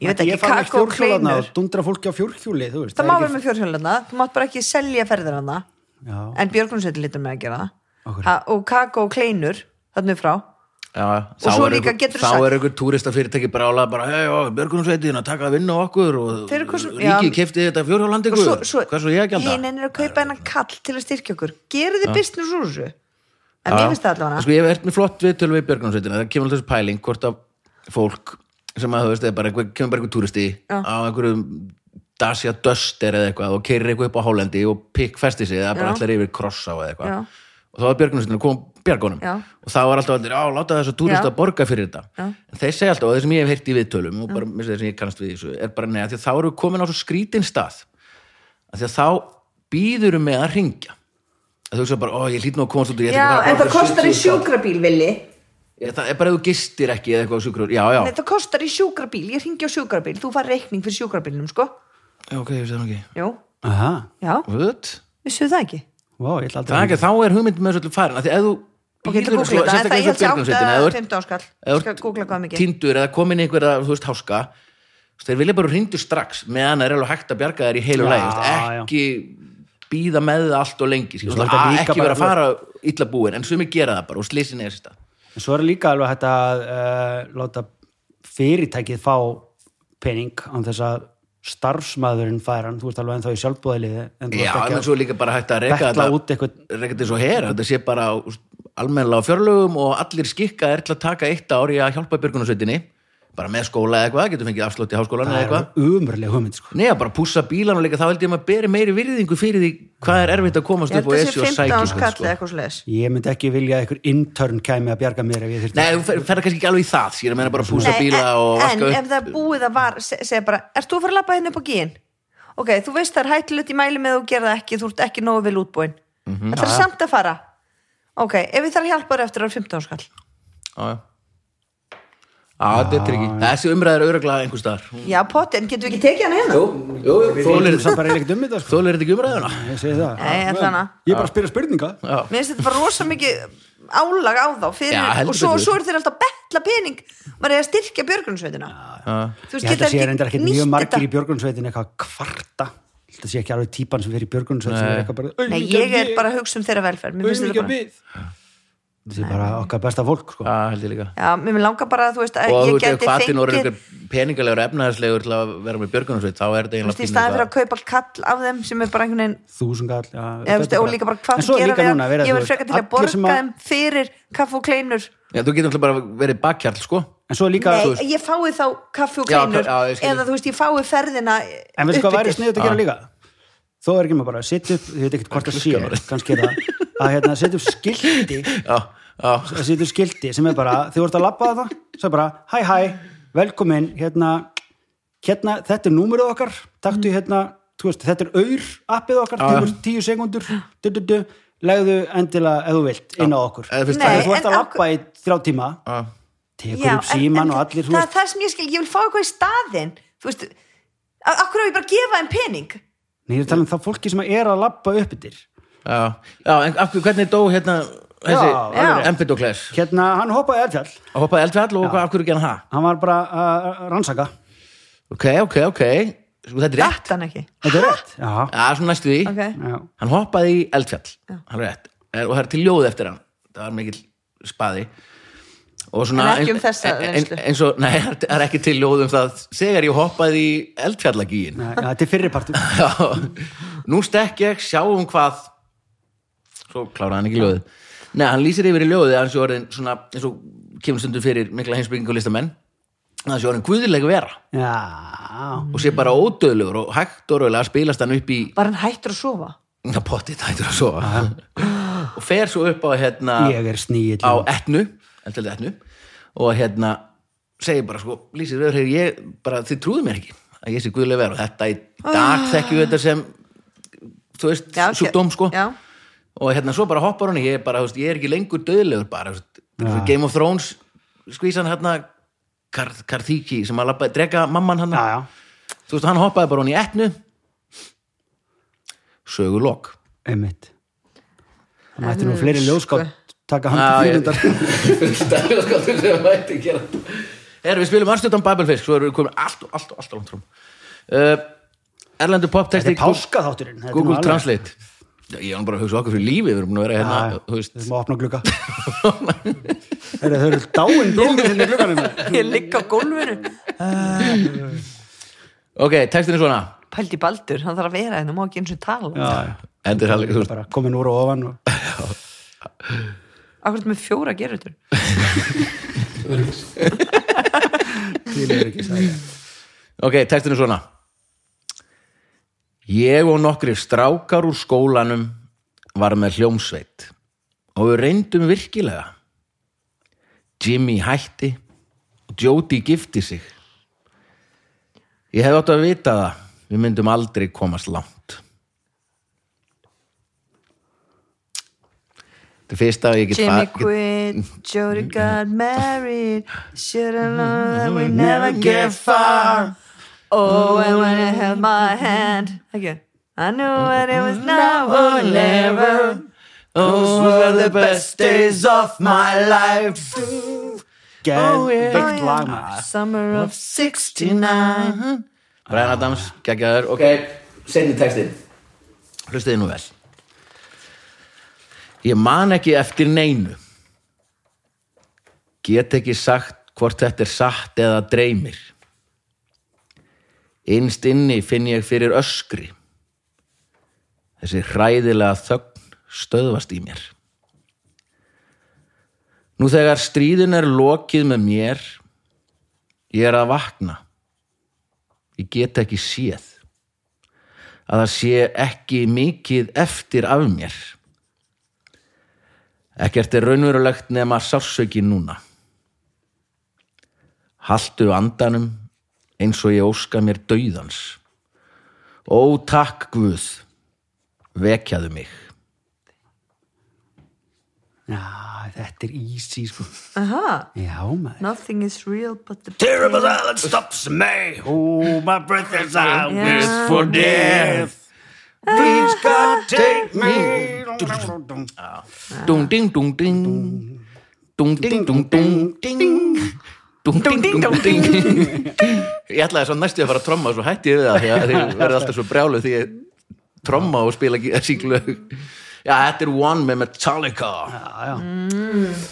D: ég veit ekki,
C: ég fann ekki
D: kakó og
C: fjórhjólaðna
D: kleinur
C: og dundra fólki á fjórhjóli þú veist,
D: það má
C: er
D: vera með fjórhjólana, þú mátt bara ekki selja ferðir hana
C: Já.
D: en Björgunsveitin lítur með að gera
C: Af hverju?
D: það Ha- og kakó og kleinur þannig frá
B: Já, þá
D: svo
B: er
D: líka
B: einhver-
D: geturðu
B: þá
D: sagt-
B: er einhver túristafyrirtæki bara álað bara, hei, björgunarsveitin að taka að vinna á okkur og
D: Þeir eru hvað sem-
B: ríkið
D: já.
B: kefti þetta fjórhjólandi
D: og svo,
B: ykkur, hvað svo ég að gjalda?
D: hinn er að kaupa hennan kall til að styrkja okkur gerðu þið business úr þessu en mér finnst það allavega
B: Sko, ég hef hert með flott viðtöl við björgunarsveitina, það kemur alltaf þessu pæling hvort að fólk sem að þú veist, er bara, einhver- kemur bara einhver túristi á einhverjum Dacia Duster eða eitthvað og keirir eitthvað upp á Hálendi og pikk festi sig eða bara
D: Já.
B: allir yfir krossa og eða eitthvað
D: Já.
B: og þá var björgunarsveitin að koma björgunum
D: Já.
B: og þá var alltaf allir, á, láta þess að túrist
D: Já.
B: borga fyrir þetta
D: Já.
B: en þeir segja alltaf, og þeir sem ég hef heyrt í viðtölum og bara, minnst þeir sem ég kannast við í þessu, er bara neða því að þá eru við komin á svo skrítinn stað að því að þá býðurum með að ringja að þú hugsa bara, ó, ég hlýt nú að komast út úr, ég ætla ekki að fara
D: Já,
B: að
D: en það
B: borga
D: kostar í
B: 70 skall."
D: sjúkrabíl, Vili
B: Ég, það er bara ef þú gistir ekki eða eitthvað á sjúkrur já, já,
D: Nei, það kostar í sjúkrabíl, ég ringi á sjúkrabíl Þú far reikning fyrir sjúkrabílnum, sko
B: já, ok, ég veist það nú ekki
D: Jú,
C: Aha,
D: já,
B: What?
D: vissu það ekki
C: vá, ég ætla
B: það er
C: aldrei
B: ekki, þá er hugmynd með svolítið farin af því ef þú
D: Ég ætla að
B: býður
D: googla
B: svo-
D: þetta, en
B: sérstaklega eins og
D: það ég held ég
B: björgunarsveitin, ef þú
D: átt
B: ert-
D: 15 áskall
B: ef þú
D: Skal
B: ert
D: googla hvað mikið
B: týndur eða komin í einhverja þú veist háska þú veist, þeir vilja bara rindu strax meðan er alveg hægt að bjarga þær í heilu
C: Já,
B: lagi þú veist, ekki býða með það allt og lengi skilur,
C: Svo er
B: svona,
C: þetta
B: að,
C: líka
B: ekki
C: bara-
B: vera að fara illa búin en sumi gera það bara og slisin eða sérsta
C: En svo er líka alveg hægt að uh, láta fyrirtækið fá pening án þess að starfsmaðurinn fær hann, þú veist alveg ennþá í sjálfbúðaliði en þú
B: já,
C: veist
B: en
C: ekki
B: svo er líka bara hægt að
C: að
B: reka
C: betla
B: þetta
C: út eitthvað
B: reka þetta svo her, þetta sé bara á- almennilega á fjörlögum og allir skikka er til að taka eitt ár í að hjálpa björgunarsveitinni bara með skóla eða eitthvað, getur fengið afslátt í háskólan eða
C: það
B: eitthvað
C: er umurlega hugmynd sko.
B: Nei, að bara pússa bílan og líka þá held ég að maður beri meiri virðingu fyrir því hvað er erfitt að komast
D: Ég
B: upp
D: held
B: og
D: að
B: essi
D: sé
B: og
D: 15
B: sækja
D: áskall
B: sko.
D: eða eitthvað slags
C: ég myndi ekki vilja að einhver intern kæmi að bjarga mér ef ég þyrfti
B: Nei, þú fer- ferð kannski ekki alveg í það skýr að meina bara pússa
D: Nei,
B: bíla og
D: en,
B: vaska
D: en
B: upp
D: ef það er búið að var se- segja bara, ert þú að fara að lappa hérna upp á gíin? ok, þú veist það er hættulegt í mæli með að þú gerða ekki, þú ert ekki nógu vel útbúin mm
B: Mhm.
D: -hmm, það er samt að fara ok, ef við þarf hjálpar eftir á 15 skall
B: Já, já Já, þetta er tryggi Þessi umræður öruglega einhver staðar
D: já, potti, en getum við ekki tekið hana hérna?
B: Jú, jú, þólir
C: það bara eiginlega dummið það sko.
B: þetta ekki umræðuna
C: ég segi það
D: Nei,
C: Já,
D: allan að.
C: ég er bara að spyrja spurninga
B: Já,
D: mér finnst þetta bara rosa mikið álag á þá fyrir,
B: Já, heldur
D: og svo,
B: betur.
D: svo eru þeir alltaf að betla pening maður er að styrkja björgunsveitina
B: já
D: þú
C: ég held
D: geta
C: að sé reyndar ekkert
D: nýtt
C: mjög margir
D: þetta.
C: í björgunsveitin eitthvað að kvarta ég held að sé ekki alveg típan sem fyrir björgunsveitin sem er eitthvað bara "Auðvitað
D: nei, ég er bara að hugsa um þeirra velferð mér finnst þetta
C: auðvitað
D: bara
C: við þetta er bara okkar besta fólk sko.
B: Já, held ég líka
D: Já, mér langar bara að þú veist að
B: Og þú
D: ég
B: veist, ef
D: geti
B: hvatin orður
D: fengið
B: einhver peningalegur efnaðarslegur til að vera með björgunarsveit þá er þetta
D: Þú
B: eiginlega
D: veist, í staðin
B: pínu
D: fyrir að kaupa kall af þeim sem er bara einhvern veginn
C: þúsungall já,
D: eða, veist,
C: þetta er
D: og
C: bara-
D: líka bara hvað
C: En svo er
D: gera
C: líka
D: við
C: núna að vera,
D: það ég
C: þú
D: verð
C: veist,
D: frekar til að
C: allir
D: borga
C: sem að-
D: þeim fyrir kaff og kleinur
B: það. Já, þú getur náttúrulega bara verið bakkjarl, sko
C: en svo er líka
D: Nei, ég fái þá kaff og
B: Já,
D: kleinur
B: já, ég skil.
D: eða þú veist, ég fái ferðina
C: En veistu hvað
D: upp
C: væri
D: eftir.
C: sniðut að gera líka? Þó er ekki maður bara að setja upp, ég veit ekkert hvort það sé, kannski er það, að hérna, setja upp skildi,
B: Já, já
C: að setja upp skildi sem er bara, þið voru að labba það, svo er bara, hæ hæ, velkomin, hérna, hérna, þetta er númerið okkar, taktu hérna, þú veist, þetta er auður appið okkar, tegur tíu sekundur, du, du, du, legðu endilega, ef þú vilt, inn á okkur.
B: Eða fyrst-
C: Þegar þú
D: Nei,
C: ert að
D: en af
C: labba í þrjá tíma,
B: Já.
C: tekur
D: Já,
C: upp síman
D: en-
C: og
D: en
C: allir, þú
D: það er
C: veist,
D: það sem ég skil, ég vil fá eitthvað í staðinn þú veist, a- af hverju á ég bara að gefa þeim pening
C: nei, ég er að tala um það fólki sem er að labba upp yfir.
B: Já, já en af hverju, hvernig dó hérna
C: Já,
D: já.
B: þessi Empedokles?
C: Hérna, hann hoppaði eldfjall.
B: Að hoppaði eldfjall og hvað, af hverju gerði hann það?
C: hann var bara að að rannsaka
B: Ok, ok, ok, sko þetta er rétt.
D: datt hann ekki
C: þetta er rétt já,
B: Já, svona næstu því.
D: ok,
C: já.
B: Hann hoppaði í eldfjall, hann er rétt. Er- Og það er til ljóð eftir hann, það var mikill spaði. Og svona,
D: En ekki um þessa
B: en-
D: reynslu.
B: en- Eins og, nei, það er ekki til ljóð um það, þegar ég hoppaði í eldfjallagíin.
C: Já, þetta er fyrirpartur
B: Já, nú stekk ég, sjáum hvað Svo kláraði hann ekki ljóðið Nei, hann lýsir yfir í ljóðið að hann sé orðin svona, eins og kemur stundum fyrir mikla heimsbygging og listamenn að hann sé orðin guðileg vera
C: já,
B: og sé bara ódöðlegur og hægt og rauðlega spilast hann upp í
D: var hann hættur að sofa
B: na, potið hættur að sofa og fer svo upp á hérna
C: ég er sníill
B: á etnu, eldfjaldi etnu og hérna segir bara sko, lýsir rauður hefur ég bara, þið trúðu mér ekki að ég sé guðileg vera og þetta í dag þekkjum við þetta sem þú veist,
D: Ah. Já, ok.
B: sjúkdóm sko
D: já, *laughs*
B: og hérna svo bara hoppar hún í, ég er bara, þú veist, ég er ekki lengur döðlegur bara, þú veist, ja. Game of Thrones skvísan hérna Kar Karthiki sem að labba, drega mamman hann
C: já, já.
B: þú veist, hann hoppaði bara hún í etnu sögu lok
C: einmitt það mætti nú fleiri ljóðskátt taka hann
B: Já,
C: til
B: ég-
C: fyrirmyndar
B: er við spilum anstöldan Babelfisk svo erum við komin allt, allt, allt, allt langt fram uh, Erlendur
C: þetta
B: poptexti
C: er páskaþátturinn þetta er nú
B: Google
C: alveg-
B: Translate Já, ég var bara að hugsa okkur fyrir lífi við erum búin að vera
C: já,
B: hérna, þú
C: við
B: veist
C: erum að opna
B: *laughs*
C: glugga Heyrðu, þau eru dáin blóðið hérna í
B: *laughs*
C: glugganum
D: ég ligg á gólfinu
B: ok, textin er svona
D: pældi baldur, hann þarf að vera hérna, má ekki eins og tala
C: já,
B: endur hann þú veist,
C: bara komin úr og ofan og...
D: akkur með fjóra gerutur
C: til er ekki
B: *laughs*
C: sagði ég.
B: Ok, textin er svona Ég og nokkri strákar úr skólanum var með hljómsveit og við reyndum virkilega Jimmy hætti og Jody gifti sig ég hefði átt að vita það við myndum aldrei komast langt þetta er fyrsta að ég get
D: Jimmy
B: fa- get-
D: quit, Jody got married Should've known that we Mm-hmm. never get far Oh, and when I held my hand okay. I knew that it was now or Mm-hmm. never
B: Those were the best days of my life
C: Geðveikt
B: Oh, yeah.
C: lag maður
D: Ah, Summer of
B: 69 Brian Adams, geggjaður Mhm. Ah. Ok, seinni textin Hlustiði nú vel Ég man ekki eftir neinu Get ekki sagt hvort þetta er satt eða dreymir Innst inni finn ég fyrir öskri Þessi hræðilega þögn stöðvast í mér Nú þegar stríðin er lokið með mér Ég er að vakna. Ég get ekki séð. Að það sé ekki mikið eftir af mér. Ekkert er raunverulegt nema sársauki núna. Haltu andanum eins og ég óska mér dauðans. Ó takk Guð, vekjaðu mig.
C: Já, þetta er easy sko
D: Aha,
C: Já maður
D: nothing is real but the
B: Terrible silence stops me.
C: Ó, my breath is out
D: Yeah.
B: for death. Please God take me. Dung ding dung ding. Dung ding dung dung ding. Dung ding dung ding. *laughs* Ég ætlaði svo næstu að fara að tromma og svo hætti ég við það því að þið verði alltaf svo brjálu því ég tromma og spila *laughs* ekki að síklu. Já, þetta er One með Metallica.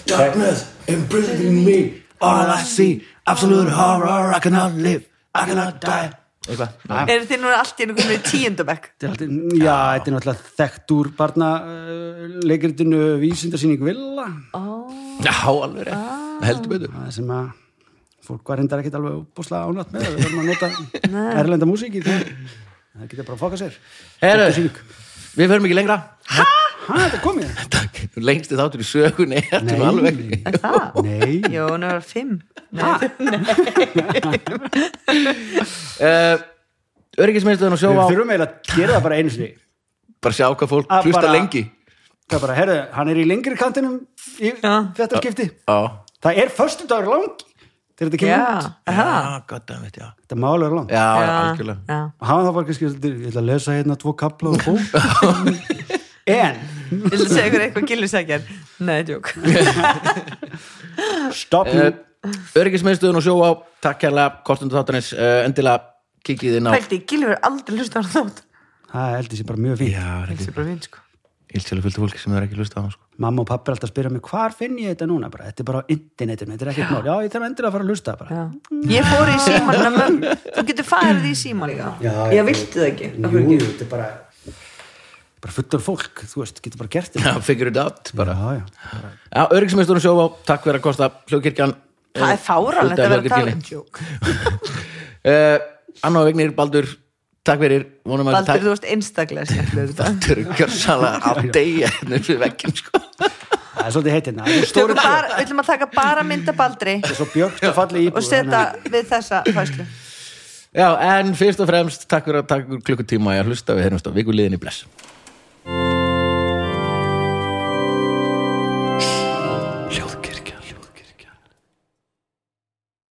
B: Darkness imprisoning me. All I see, absolute horror, I cannot live, I cannot die. Eitthvað.
D: Eru þið nú allt í einu komin í tíundabæk?
C: Þetta er alltaf- Mm, Já, þetta er náttúrulega þekkt úr barna uh, leikritinu vísindasýning Villa
B: Já, alveg rétt. Heldur betur.
C: Það sem að fólk var reyndar ekkit alveg búslega ánætt með við verðum að nota erlenda músík í það það geta bara að foka sér
B: Heru,
C: Þetta er sýning.
B: við förum ekki lengra
C: Hæ, þetta er komið?
B: Takk. lengsti þáttur í sögunni ertu
C: Nei.
B: alveg
D: *laughs* Það?
C: Nei,
D: Jó, hún er fimm
B: uh, öryggisminstöðun og
C: við
B: sjóvá
C: þurfum eiginlega að gera það bara einu sinni
B: bara sjá hvað fólk
D: Ah,
C: Að
B: hlusta
C: bara-
B: lengi
C: það er bara, herðu, hann er í lengri kantinum í þetta skipti
B: á,
C: það er föstudagur langi til þetta kemur út,
D: Já, aha
B: já, goddammit, já
C: þetta er málega langt
B: já, já,
D: Já,
B: algjörlega
D: já.
C: og hafa það bara kannski, svolítið, ég ætla að lesa hérna tvo kapla og bó en,
D: Ég vil segja ykkur eitthvað gillu segjar Nei, djók Eh,
C: stopp nú
B: uh, öryggisminstöðun og sjóvá takk kærlega, kortundu þáttanins uh, endilega kikið inn á
D: Pældi, gillu verður aldrei hlusta á hann þátt
C: það heldur sér bara mjög fínt
B: já,
D: Það er bara fín, sko
B: íldsjölu fylgta fólki sem það er ekki hlusta á sko.
C: mamma og pappi er alltaf að spyrja mig, hvar finn ég þetta núna bara, þetta er bara á internetinu, þetta er ekkert mál já, ég þarf endur að fara að lusta bara
D: Já. Ég fór í síman Þú getur farið í síman líka
C: Já, já.
D: Ég vilti það ekki af
C: jú,
D: hverju ekki?
C: þetta er bara bara fullur fólk, þú veist, getur bara gert
B: já,
C: þetta
B: figure it out bara.
C: já, já,
B: já, öryggisminstöðun og sjóvá, takk fyrir að kosta Eh, hlugkirkjan
D: Það er fáralegt að vera að tala um djók
B: uh, Anna og Vignir, Baldur takk fyrir, vonum að
D: Baldur, þú veist einstaklega skemmtilegur í dag.
B: Baldur kjörsalega á
D: *laughs*
B: degja hérna fyrir vekkin sko.
C: það er svolítið heitina það er
D: Tökum
C: stóri
D: bara, við ætlum að taka bara mynda Baldri
C: og svo björkt og falli íbúð
D: og setja við þessa fæslu
B: já, en fyrst og fremst takk fyrir að takk klukkutíma að hlusta við heyrumst á vikuliðinni bless